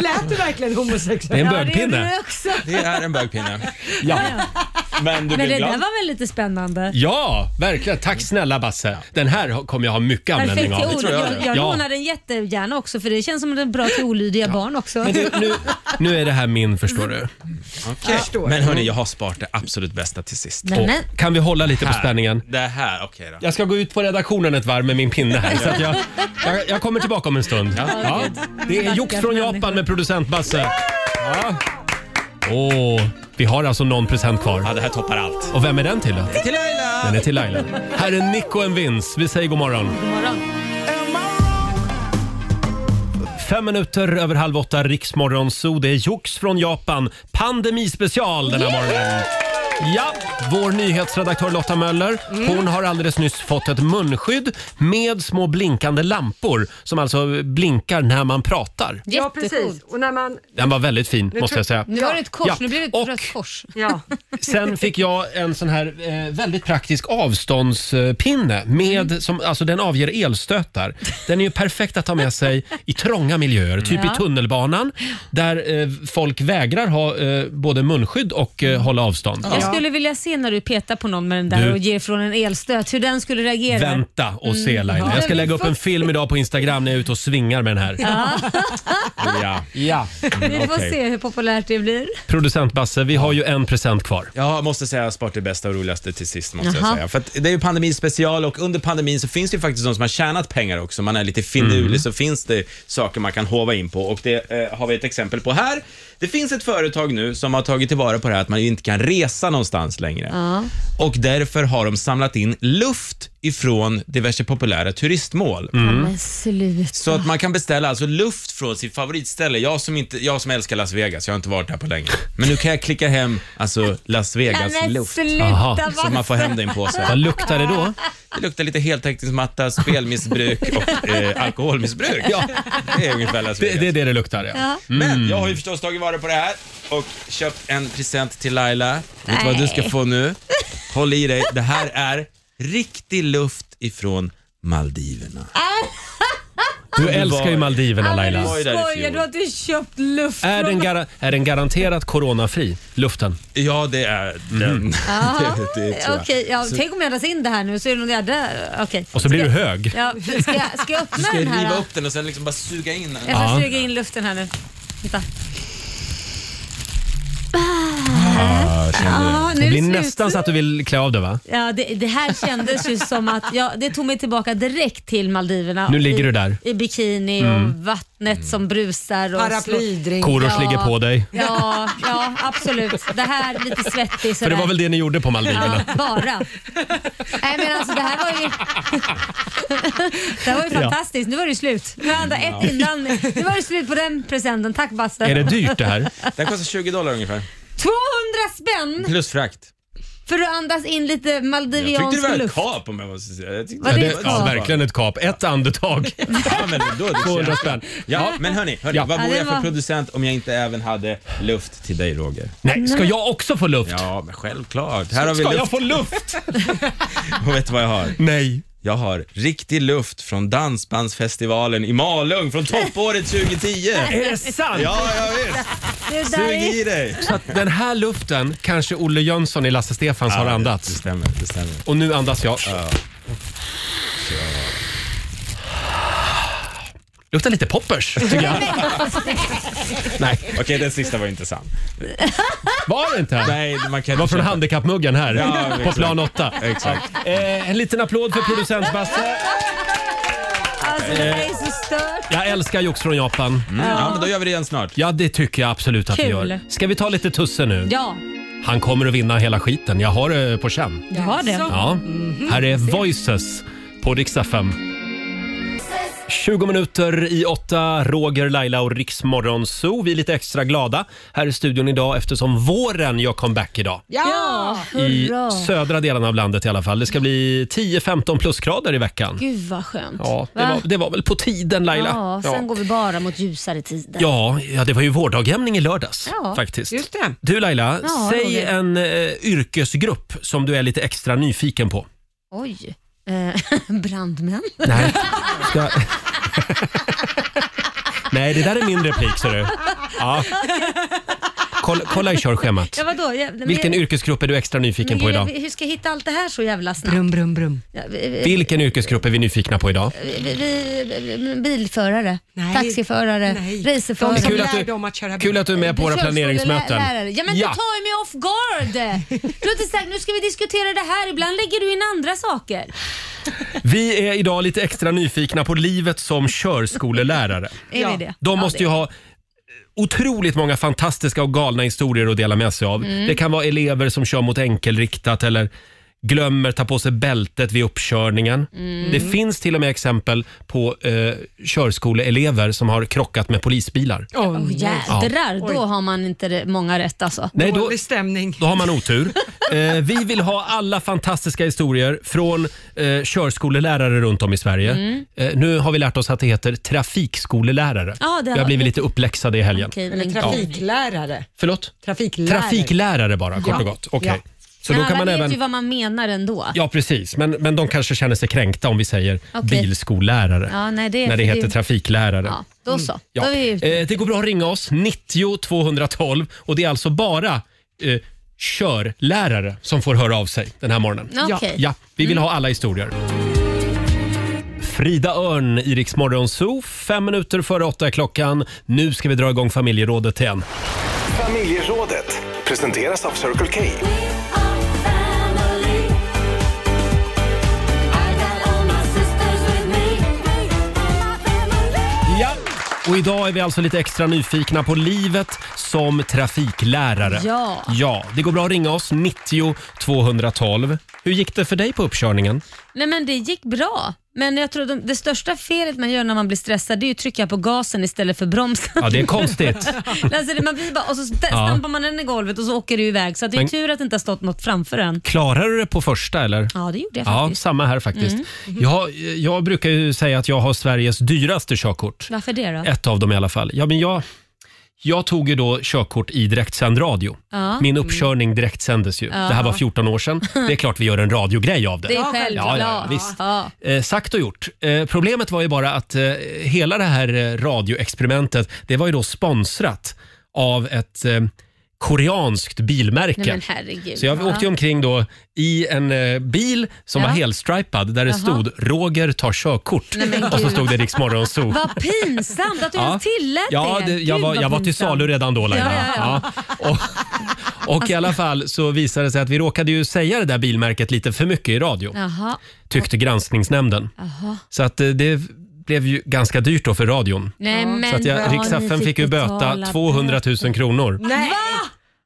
Speaker 2: lät du verkligen homosexuell.
Speaker 1: Det är en
Speaker 4: Ja, det gjorde
Speaker 1: bögpinne.
Speaker 4: du också.
Speaker 7: faktiskt. Det är en bögpinne.
Speaker 4: (laughs)
Speaker 1: Ja.
Speaker 7: Men du
Speaker 4: Men det
Speaker 7: blir
Speaker 4: där
Speaker 7: glad.
Speaker 4: var väl lite spännande?
Speaker 1: ja, verkligen. Tack snälla Basse. Den här kommer jag ha mycket
Speaker 4: Perfekt
Speaker 1: användning
Speaker 4: till
Speaker 1: av.
Speaker 7: tror jag
Speaker 4: olydiga.
Speaker 7: det.
Speaker 4: Jag, jag
Speaker 1: Ja.
Speaker 4: lånar den jättegärna också för det känns som att den är bra till olydiga barn också.
Speaker 1: Men du, nu, nu är det här min förstår du.
Speaker 7: Okej. Men hörni, jag har sparat det absolut bästa till sist.
Speaker 4: Nej, men,
Speaker 1: Kan vi hålla lite på spänningen?
Speaker 7: Det här, okej då.
Speaker 1: Jag ska gå ut på redaktionen ett varv med min pinne här. Så att jag, jag, jag kommer tillbaka om en stund. Ja. Det är Jox från Japan med producent Basse. Ja. Åh, vi har alltså någon present
Speaker 7: Ja,
Speaker 1: kvar.
Speaker 7: det här toppar allt.
Speaker 1: Och vem är den till då?
Speaker 7: Till Laila!
Speaker 1: Den är till Laila. Här är Nico and Vince. Vi säger god morgon.
Speaker 4: god morgon.
Speaker 1: Fem minuter över halv åtta, Riksmorgon Zoo. Det är Jox från Japan. Pandemispecial den här morgonen. Ja, vår nyhetsredaktör Lotta Möller,
Speaker 4: Mm.
Speaker 1: hon har alldeles nyss fått ett munskydd med små blinkande lampor som alltså blinkar när man pratar.
Speaker 2: Ja,
Speaker 4: Jättecoolt.
Speaker 2: precis. Och när man...
Speaker 1: Den var väldigt fin måste jag säga.
Speaker 4: Nu var det ett kors,
Speaker 1: Ja,
Speaker 4: nu blir det ett
Speaker 1: och-
Speaker 4: rött kors.
Speaker 2: Ja.
Speaker 1: Sen fick jag en sån här eh, väldigt praktisk avståndspinne med,
Speaker 4: Mm.
Speaker 1: som, alltså den avger elstötar. Den är ju perfekt att ha med sig i trånga miljöer, typ
Speaker 4: Ja.
Speaker 1: i tunnelbanan där eh, folk vägrar ha eh, både munskydd och
Speaker 4: Mm.
Speaker 1: eh, hålla avstånd.
Speaker 4: Jag skulle vilja se när du petar på någon med den där
Speaker 1: Du-
Speaker 4: och ger från en elstöt, hur den skulle reagera.
Speaker 1: Vänta och se
Speaker 4: Mm.
Speaker 1: Laila. Jag ska lägga upp en film idag på Instagram när jag är ute och svingar med den här.
Speaker 7: Ja.
Speaker 1: Ja.
Speaker 4: Vi får
Speaker 7: Okej.
Speaker 4: se hur populärt det
Speaker 1: Mm.
Speaker 4: blir.
Speaker 1: Producent Basse, vi har ju en present kvar.
Speaker 7: Jag måste säga jag har sparat det bästa och roligaste till sist. Måste jag
Speaker 4: Jaha.
Speaker 7: säga. För att det är ju pandemin special och under pandemin så finns det ju faktiskt de som har tjänat pengar också. Man är lite finurlig
Speaker 4: Mm.
Speaker 7: så finns det saker man kan hova in på och det eh, har vi ett exempel på här. Det finns ett företag nu som har tagit tillvara på det här att man ju inte kan resa någonstans längre.
Speaker 4: Ja.
Speaker 7: Och därför har de samlat in luft ifrån diverse populära turistmål.
Speaker 4: Ja, men sluta.
Speaker 7: Så att man kan beställa alltså luft från sitt favoritställe. Jag som, inte, jag som älskar Las Vegas, jag har inte varit där på länge. Men nu kan jag klicka hem alltså Las
Speaker 4: Ja,
Speaker 7: Vegas
Speaker 4: men
Speaker 7: luft.
Speaker 1: Aha.
Speaker 4: sluta
Speaker 7: Så
Speaker 4: va?
Speaker 7: man får hem det i en påse.
Speaker 1: Vad luktar det då?
Speaker 7: Det luktar lite heltäckningsmatta, spelmissbruk
Speaker 1: (laughs)
Speaker 7: och eh, alkoholmissbruk. Ja. Det är ungefär Las
Speaker 1: Det, mm.
Speaker 7: Vegas.
Speaker 1: det är det det luktar ja.
Speaker 4: Ja.
Speaker 7: Men jag har ju förstås tagit vara på det här och köpt en present till Laila. Vet du vad du ska få nu? Håll i dig. Det här är riktig luft ifrån Maldiverna.
Speaker 1: Du älskar ju Maldiverna
Speaker 4: Ja, men
Speaker 1: Laila.
Speaker 7: var
Speaker 4: Du
Speaker 7: ju där i
Speaker 4: skojar,
Speaker 7: fjol.
Speaker 4: du har inte köpt luft.
Speaker 1: Är den,
Speaker 4: från-
Speaker 1: gar- är den garanterat coronafri, luften?
Speaker 7: Ja, det är
Speaker 1: Mm.
Speaker 7: den. det, det tror jag.
Speaker 4: Okej, ja, tänk om jag andas in det här nu så är det någon jävla... Okej.
Speaker 1: Och så blir
Speaker 4: Ska-
Speaker 1: du hög.
Speaker 4: Ja, ska, jag- ska jag öppna
Speaker 7: Ska
Speaker 4: den
Speaker 7: jag
Speaker 4: här?
Speaker 7: riva
Speaker 4: då?
Speaker 7: upp den och sen liksom bara suga in den?
Speaker 4: Jag ska
Speaker 1: Ja.
Speaker 4: suga in luften här nu. Titta.
Speaker 7: Ja, jag känner det.
Speaker 4: Ja, nu
Speaker 1: Ah, Det
Speaker 4: är
Speaker 1: blir
Speaker 4: slut.
Speaker 1: nästan så att du vill klä av dig va?
Speaker 4: Ja, det, det här kändes ju som att jag, det tog mig tillbaka direkt till Maldiverna.
Speaker 1: Nu ligger
Speaker 4: I,
Speaker 1: du där. Mm.
Speaker 4: I bikini och vattnet
Speaker 7: Mm.
Speaker 4: som brusar.
Speaker 2: (laughs)
Speaker 4: Och
Speaker 2: Paraplydrink.
Speaker 1: Korosh
Speaker 4: Ja.
Speaker 1: ligger på dig.
Speaker 4: slår- Ja, ja, absolut. Det här är lite svettig
Speaker 1: För det var väl det ni gjorde på Maldiverna?
Speaker 4: Ja, bara. Nej men alltså det här var ju... det här var ju fantastiskt. Nu var det ju slut. Nu hade jag ett innan. Nu var det slut på den presenten. Tack Basse.
Speaker 1: Är det
Speaker 4: 200
Speaker 1: dyrt
Speaker 4: (laughs)
Speaker 1: det här?
Speaker 7: Den kostar 20 dollar ungefär.
Speaker 4: spänn
Speaker 7: Plus frakt.
Speaker 4: för att andas in lite
Speaker 7: Jag tyckte det
Speaker 4: maldiviansk
Speaker 7: var ett
Speaker 4: luft.
Speaker 7: kap om jag måste säga. Jag tyckte
Speaker 4: Var det
Speaker 1: Det,
Speaker 4: ett
Speaker 1: ja,
Speaker 4: kap?
Speaker 1: verkligen ett kap. Ett andetag.
Speaker 7: Ja, men då, det
Speaker 1: 200 spänn.
Speaker 7: Ja, men hörni, hörni
Speaker 1: Ja.
Speaker 7: vad
Speaker 4: Ja,
Speaker 7: vore
Speaker 4: det
Speaker 7: jag för
Speaker 4: var-
Speaker 7: producent om jag inte även hade luft till dig Roger?
Speaker 1: Nej, ska jag också få luft?
Speaker 7: Ja, men självklart. Här har vi
Speaker 1: Ska jag
Speaker 7: luft.
Speaker 1: få
Speaker 7: (laughs)
Speaker 1: luft?
Speaker 7: Och vet du vad jag har?
Speaker 1: Nej.
Speaker 7: Jag har riktig luft från Dansbandsfestivalen i Malung från toppåret 2010.
Speaker 1: (laughs) Är det sant?
Speaker 7: Ja, ja visst.
Speaker 4: Det där
Speaker 7: Sug
Speaker 4: är...
Speaker 7: i dig.
Speaker 1: Så att den här luften kanske Olle Jönsson i Lasse Stefans har
Speaker 7: Det
Speaker 1: andats.
Speaker 7: stämmer, det stämmer.
Speaker 1: Och nu andas jag. Luktar lite poppers, tycker jag. Nej,
Speaker 7: Okej, den sista var inte sann.
Speaker 1: var det inte?
Speaker 7: Nej, man kan
Speaker 1: Det var
Speaker 7: inte
Speaker 1: från
Speaker 7: köpa.
Speaker 1: handikappmuggen här
Speaker 7: Ja,
Speaker 1: på
Speaker 7: exakt.
Speaker 1: plan 8.
Speaker 7: Exakt.
Speaker 1: Eh, en liten applåd för producent Basse.
Speaker 4: Alltså det här är så stört.
Speaker 1: Jag älskar jox från Japan.
Speaker 7: Mm, ja, men då gör vi det igen snart.
Speaker 1: Ja, det tycker jag absolut att vi
Speaker 4: Kul.
Speaker 1: gör. Ska vi ta lite Tusse nu?
Speaker 4: Ja,
Speaker 1: Han kommer att vinna hela skiten. Jag har det på känn.
Speaker 4: du har det.
Speaker 1: Ja,
Speaker 4: Mhm.
Speaker 1: här är Voices på Rix FM. 20 minuter i åtta, Roger, Laila och Rix Morgonzoo. Vi är lite extra glada här i studion idag eftersom våren gör comeback idag.
Speaker 2: Ja!
Speaker 1: I
Speaker 4: hurra.
Speaker 1: södra delen av landet i alla fall. Det ska bli 10-15 plusgrader i veckan.
Speaker 4: Gud vad skönt.
Speaker 1: Ja, det
Speaker 4: Va?
Speaker 1: var, det var väl på tiden Laila?
Speaker 4: ja, sen går vi bara mot ljusare tider.
Speaker 1: Ja, ja, det var ju vårdagjämning i lördags
Speaker 4: Ja,
Speaker 1: faktiskt.
Speaker 2: just det.
Speaker 1: Du Laila,
Speaker 4: Ja,
Speaker 1: säg
Speaker 4: Roger.
Speaker 1: en eh, yrkesgrupp som du är lite extra nyfiken på.
Speaker 4: Oj. Eh, (laughs) brandmän.
Speaker 1: Nej, ska... (laughs) Nej det där är min replik ser du. Ja. Kolla, kolla i körschemat.
Speaker 4: Ja, vadå? Ja, men-
Speaker 1: Vilken yrkesgrupp är du extra nyfiken
Speaker 4: men
Speaker 1: på
Speaker 4: gud, jag-
Speaker 1: idag?
Speaker 4: Hur ska jag hitta allt det här så jävla snabbt?
Speaker 2: Brum, brum, brum.
Speaker 4: Ja, vi- vi-
Speaker 1: Vilken yrkesgrupp är vi nyfikna på idag?
Speaker 4: vi, vi, vi, bilförare,
Speaker 2: Nej.
Speaker 4: taxiförare,
Speaker 2: Nej.
Speaker 4: racerförare.
Speaker 2: De som
Speaker 1: Kul att
Speaker 2: lär
Speaker 1: du-
Speaker 2: dem att köra bil.
Speaker 1: Kul att du är med på våra planeringsmöten.
Speaker 4: Lärare. Ja men du tar ju mig off guard. Du har inte sagt nu ska vi diskutera det här, ibland lägger du in andra saker.
Speaker 1: Vi är idag lite extra nyfikna på livet som körskolelärare.
Speaker 4: Är
Speaker 2: Ja.
Speaker 4: vi det?
Speaker 1: De måste ju ha otroligt många fantastiska och galna historier att dela med sig av.
Speaker 4: Mm.
Speaker 1: Det kan vara elever som kör mot enkelriktat eller glömmer ta på sig bältet vid uppkörningen.
Speaker 4: Mm.
Speaker 1: Det finns till och med exempel på eh, körskoleelever som har krockat med polisbilar.
Speaker 2: Åh,
Speaker 4: Åh,
Speaker 2: nej.
Speaker 4: jädrar, då har man inte det- många rätt alltså.
Speaker 1: Nej, då,
Speaker 2: Dålig stämning.
Speaker 1: då har man otur. (laughs) Eh, vi vill ha alla fantastiska historier från eh, körskolelärare runt om i Sverige.
Speaker 4: Mm.
Speaker 1: Eh, nu har vi lärt oss att det heter trafikskolelärare.
Speaker 4: Ja, det
Speaker 1: vi har
Speaker 4: har-
Speaker 1: blivit lite uppläxade i helgen.
Speaker 4: Okej, men
Speaker 2: Eller trafiklärare.
Speaker 1: Förlåt?
Speaker 2: Trafiklärare.
Speaker 1: Trafiklärare bara, kort
Speaker 2: Ja.
Speaker 1: och gott. Okej.
Speaker 2: Ja.
Speaker 1: Så
Speaker 4: Men
Speaker 1: då kan
Speaker 4: alla
Speaker 1: man
Speaker 4: vet
Speaker 1: även...
Speaker 4: ju vad man menar ändå.
Speaker 1: Ja, precis. Men, men de kanske känner sig kränkta om vi säger
Speaker 4: Okej.
Speaker 1: bilskollärare.
Speaker 4: Ja, nej, det-
Speaker 1: när det
Speaker 4: det-
Speaker 1: heter trafiklärare.
Speaker 4: Ja, då så.
Speaker 1: Mm. Ja.
Speaker 4: Då är vi ute.
Speaker 1: Eh, det går bra att ringa oss, 90 212. Och det är alltså bara eh, körlärare som får höra av sig den här morgonen.
Speaker 4: Okej. Mm.
Speaker 1: Ja, vi vill ha alla historier. Frida Örn, Iriks morgonzoo. Fem minuter före åtta är klockan. Nu ska vi dra igång familjerådet igen.
Speaker 9: Familjerådet presenteras av Circle K.
Speaker 1: Ja, Och idag är vi alltså lite extra nyfikna på livet som trafiklärare.
Speaker 4: Ja.
Speaker 1: Ja, det går bra att ringa oss, 90 212. Hur gick det för dig på uppkörningen?
Speaker 4: Nej men det gick bra. Men jag tror de, det största felet man gör när man blir stressad det är ju att trycka på gasen istället för bromsen.
Speaker 1: Ja, det är
Speaker 4: (laughs)
Speaker 1: konstigt.
Speaker 4: alltså, det- man blir bara, och så st-
Speaker 1: Ja.
Speaker 4: stampar man den i golvet och så åker det iväg. Så att det är
Speaker 1: Men-
Speaker 4: tur att det inte har stått något framför en.
Speaker 1: Klarar du det på första eller?
Speaker 4: Ja, det gjorde
Speaker 1: Ja,
Speaker 4: jag faktiskt. Mm. Mm-hmm.
Speaker 1: samma här faktiskt. Jag, jag brukar ju säga att jag har Sveriges dyraste körkort.
Speaker 4: Varför det då?
Speaker 1: Ett av dem i alla fall. Ja, men jag, jag tog ju då körkort i direktsänd radio.
Speaker 4: Ja. Mm.
Speaker 1: Min uppkörning direktsändes ju. Det här var 14 år sedan. Det är klart vi gör en radiogrej av det.
Speaker 4: Det är
Speaker 2: Ja,
Speaker 4: självklart.
Speaker 1: ja, ja, visst.
Speaker 4: Ja.
Speaker 1: Eh, sagt och gjort. Eh, problemet var ju bara att eh, hela det här eh, radioexperimentet, det var ju då sponsrat av ett eh, koreanskt bilmärke.
Speaker 4: Nej men herregud.
Speaker 1: Så jag
Speaker 4: Ja.
Speaker 1: åkte ju omkring då i en eh, bil som
Speaker 4: Ja.
Speaker 1: var helstripad där det stod “Roger tar körkort”
Speaker 4: Nej, men
Speaker 1: och så
Speaker 4: gud.
Speaker 1: stod det Rix Morgon Zoo.
Speaker 4: Vad pinsamt att du
Speaker 1: Ja.
Speaker 4: ens tillät
Speaker 1: Ja,
Speaker 4: det.
Speaker 1: det, jag,
Speaker 4: Gud,
Speaker 1: var,
Speaker 4: vad
Speaker 1: jag var till
Speaker 4: pinsamt.
Speaker 1: salu redan då Laila.
Speaker 4: Ja, ja,
Speaker 1: Ja. Och, (laughs) och i alla fall så visade det sig att vi råkade ju säga det där bilmärket lite för mycket i radio,
Speaker 4: Jaha.
Speaker 1: tyckte granskningsnämnden.
Speaker 4: Jaha.
Speaker 1: Så att eh, det blev ju ganska dyrt då för radion.
Speaker 4: Nej, men
Speaker 1: Så att jag,
Speaker 4: vad
Speaker 1: Rix
Speaker 4: ni
Speaker 1: FM fick ju böta
Speaker 4: betala
Speaker 1: 200 000 kronor.
Speaker 2: Nej.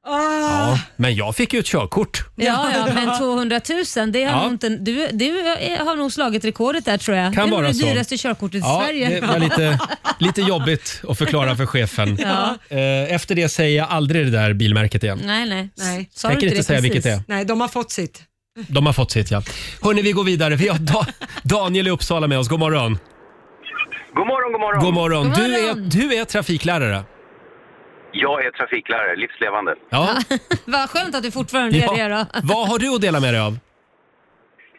Speaker 1: Ja, men jag fick ju ett körkort.
Speaker 4: Ja, ja, men 200 000, det har
Speaker 1: Ja.
Speaker 4: nog inte, du, du är- har nog slagit rekordet där tror jag.
Speaker 1: Kan
Speaker 4: det är nog
Speaker 1: vara
Speaker 4: det
Speaker 1: så.
Speaker 4: dyraste körkortet i
Speaker 1: Ja,
Speaker 4: Sverige.
Speaker 1: det
Speaker 4: (laughs)
Speaker 1: var lite, lite jobbigt att förklara för chefen. Eh, Efter det säger jag aldrig det där bilmärket igen.
Speaker 4: Nej, nej.
Speaker 2: Nej.
Speaker 4: Sa du
Speaker 1: Tänker inte
Speaker 4: det
Speaker 1: säga
Speaker 4: precis?
Speaker 1: vilket det är.
Speaker 2: Nej, de har fått sitt.
Speaker 1: De har fått sitt ja. Hörni, vi går vidare. Vi har da- Daniel i Uppsala med oss. God morgon.
Speaker 9: God morgon, god morgon.
Speaker 1: God morgon.
Speaker 4: God
Speaker 1: Du är,
Speaker 4: morgon.
Speaker 1: du är trafiklärare.
Speaker 9: Jag är trafiklärare, livslevande.
Speaker 1: Ja.
Speaker 4: Vad skönt att du fortfarande
Speaker 1: ja.
Speaker 4: är det då.
Speaker 1: Vad har du att dela med dig av?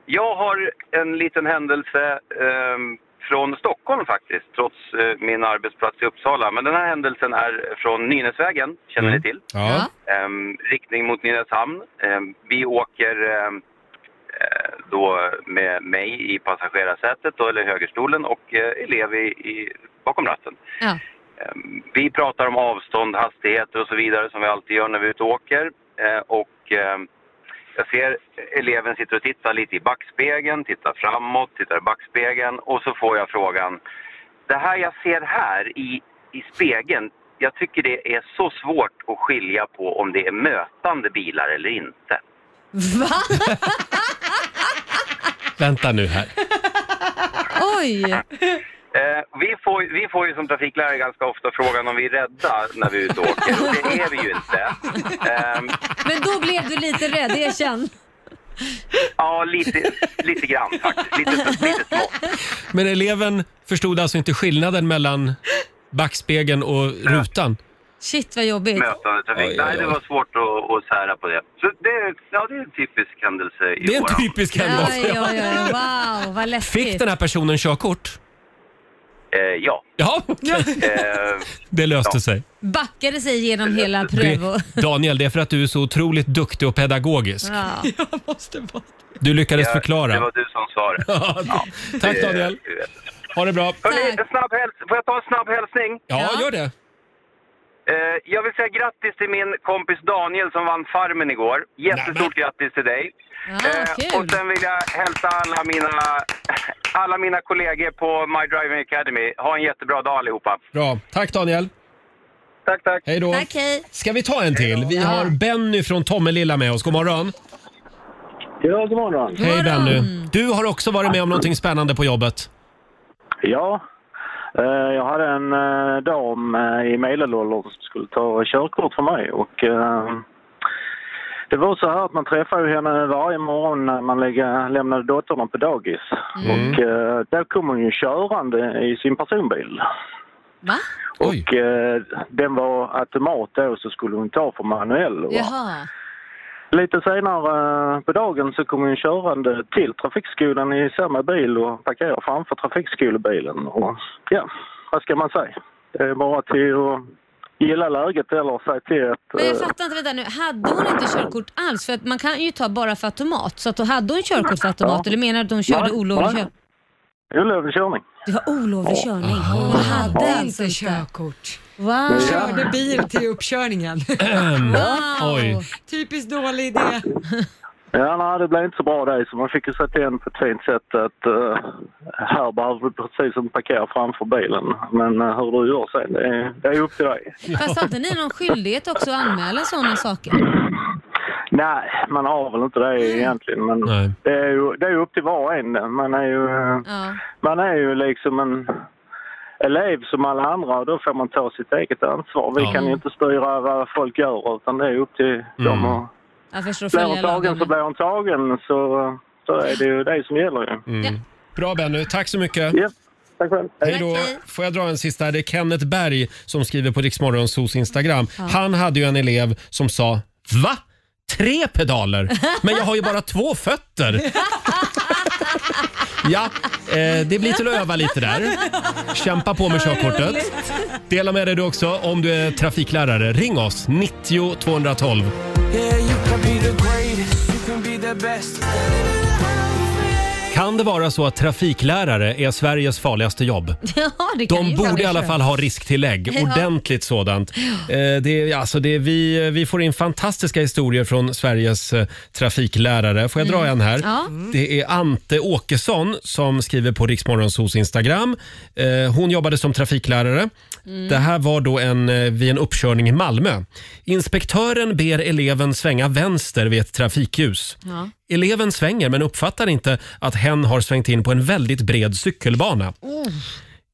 Speaker 9: Jag har en liten händelse ehm, från Stockholm faktiskt, trots eh, min arbetsplats i Uppsala. Men den här händelsen är från Nynäsvägen, känner ni till?
Speaker 4: Ja.
Speaker 9: Ehm, riktning mot Nynäshamn. Ehm, vi åker ehm, eh, då med mig i passagerarsätet, då, eller högerstolen, och eh, elev i, i, bakom ratten.
Speaker 4: Ja.
Speaker 9: Ehm, Vi pratar om avstånd, hastigheter och så vidare som vi alltid gör när vi är ute och åker. Eh, Och ehm, jag ser eleven sitter och tittar lite i backspegeln, tittar framåt, tittar i backspegeln och så får jag frågan. Det här jag ser här i, i spegeln, jag tycker det är så svårt att skilja på om det är mötande bilar eller inte.
Speaker 4: Va?
Speaker 1: Vänta nu här.
Speaker 4: Oj!
Speaker 9: Eh, vi, får, vi får ju som trafiklärare ganska ofta frågan om vi är rädda när vi är ute och åker och det är vi ju inte. Ehm,
Speaker 4: Men då blev du lite rädd, erkänn.
Speaker 9: Ja, lite, lite grann faktiskt. Lite, lite smått.
Speaker 1: Men eleven förstod alltså inte skillnaden mellan backspegeln och rutan?
Speaker 4: Shit vad jobbigt.
Speaker 9: Mötande trafik.
Speaker 1: Oj, oj,
Speaker 9: Nej, det
Speaker 1: oj.
Speaker 9: var svårt att, att sära på det. Så det, är- ja, det är en typisk händelse i
Speaker 1: Det är en
Speaker 9: våran-
Speaker 1: typisk
Speaker 4: Oj,
Speaker 1: händelse.
Speaker 4: oj, oj, wow vad läskigt.
Speaker 1: Fick den här personen körkort?
Speaker 9: Eh, ja.
Speaker 1: Ja, okej.
Speaker 9: Eh,
Speaker 1: det löste sig.
Speaker 4: Backade sig genom hela pröv och...
Speaker 1: Det, Daniel, det är för att du är så otroligt duktig och pedagogisk.
Speaker 4: Ja.
Speaker 2: Jag måste vara
Speaker 1: Du lyckades
Speaker 9: det
Speaker 1: förklara.
Speaker 9: var du som sa det.
Speaker 1: (laughs)
Speaker 9: Eh,
Speaker 1: Ja. Tack Daniel. Ha det bra.
Speaker 9: Hörrni,
Speaker 4: Tack.
Speaker 9: en snabb häls- får jag ta en snabb hälsning?
Speaker 1: Ja,
Speaker 4: Ja.
Speaker 1: gör det.
Speaker 9: Eh, jag vill säga grattis till min kompis Daniel som vann Farmen igår. Jättestort grattis till dig. Eh,
Speaker 4: Ja, Ah,
Speaker 9: och
Speaker 4: kul.
Speaker 9: sen vill jag hälsa alla mina, (laughs) alla mina kollegor på My Driving Academy. Ha en jättebra dag allihopa.
Speaker 1: Bra. Tack Daniel.
Speaker 9: Tack, tack.
Speaker 1: Hej då.
Speaker 4: Tack, hej.
Speaker 1: Ska vi ta en till? Vi
Speaker 4: Ja.
Speaker 1: har Benny från Tommelilla med oss. God morgon.
Speaker 6: Ja, god morgon.
Speaker 1: Hej
Speaker 4: morgon.
Speaker 1: Benny. Du har också varit med om någonting spännande på jobbet.
Speaker 6: Ja, eh, jag hade en eh, dam eh, i medelåldern som skulle ta körkort för mig. Och, eh, det var så här att man träffade ju henne varje morgon när man lägga- lämnade dottern på dagis. Och eh, där kom hon ju körande i sin personbil.
Speaker 4: Va?
Speaker 1: Oj.
Speaker 6: Och eh, den var automat då så skulle hon ta för manuell. va?
Speaker 4: Jaha.
Speaker 6: Lite senare eh, på dagen så kom hon körande till trafikskolan i samma bil och parkerade framför trafikskolebilen. Och, ja, vad ska man säga? Det är bara till att gilla läget eller säga till att...
Speaker 4: Men jag
Speaker 6: eh,
Speaker 4: fattar inte, vänta nu. Hade hon inte körkort alls? För att man kan ju ta bara för automat. Så att då hade hon körkort för automat? Eller menar du att hon körde
Speaker 6: Nej,
Speaker 4: olovlig
Speaker 6: nej.
Speaker 4: körning?
Speaker 6: Olovlig körning.
Speaker 4: Det var olovlig körning. Hon hade alltså
Speaker 2: inte
Speaker 4: inte.
Speaker 2: körkort.
Speaker 4: Wow.
Speaker 2: Körde (laughs) bil till uppkörningen.
Speaker 4: wow.
Speaker 1: Oj.
Speaker 2: Typiskt dålig idé.
Speaker 6: Ja, nej, det blev inte så bra det, så man fick ju sätta igen på ett fint sätt att eh, här behöver du precis som parkera framför bilen. Men eh, hur du gör sen, det är, det är upp till dig.
Speaker 4: Fast hade ni någon skyldighet också att anmäla sådana saker?
Speaker 6: Nej, man har väl inte det egentligen, men
Speaker 1: Nej.
Speaker 6: det är, ju, det är ju upp till var och en. Man är ju, eh,
Speaker 4: Ja.
Speaker 6: man är ju liksom en elev som alla andra och då får man ta sitt eget ansvar. Vi
Speaker 1: Ja.
Speaker 6: kan ju inte styra vad folk gör, utan det är upp till dem. Och
Speaker 4: Jag förstår att
Speaker 6: blir
Speaker 4: följa
Speaker 6: hon tagen
Speaker 4: lagarna.
Speaker 6: så blir hon tagen, så, så är det ju det som gäller ju.
Speaker 1: Bra Benny, tack så mycket.
Speaker 6: Japp, tack själv. Hej.
Speaker 1: Hej då.
Speaker 4: Tack, hej.
Speaker 1: Får jag dra en sista? här? Det är Kenneth Berg som skriver på Riksmorgonsos Instagram. Han hade ju en elev som sa Va? Tre pedaler? Men jag har ju bara två fötter.
Speaker 4: (laughs)
Speaker 1: Ja, eh, det blir till att öva lite där. Kämpa på med körkortet. Dela med dig du också om du är trafiklärare. Ring oss, 90 212. Kan det vara så att trafiklärare är Sveriges farligaste jobb?
Speaker 4: Ja, det kan
Speaker 1: De
Speaker 4: ju
Speaker 1: borde i
Speaker 4: vara
Speaker 1: alla
Speaker 4: så.
Speaker 1: fall ha risktillägg, ordentligt sådant. Eh, det, är- alltså det, är- vi, vi får in fantastiska historier från Sveriges eh, trafiklärare. Får jag dra en här?
Speaker 4: Mm. Ja.
Speaker 1: Det är Ante Åkesson som skriver på Riksmorgonsos Instagram. Eh, hon jobbade som trafiklärare.
Speaker 4: Mm.
Speaker 1: Det här var då en, eh, vid en uppkörning i Malmö. Inspektören ber eleven svänga vänster vid ett trafikljus.
Speaker 4: Ja.
Speaker 1: Eleven svänger men uppfattar inte att hen har svängt in på en väldigt bred cykelbana.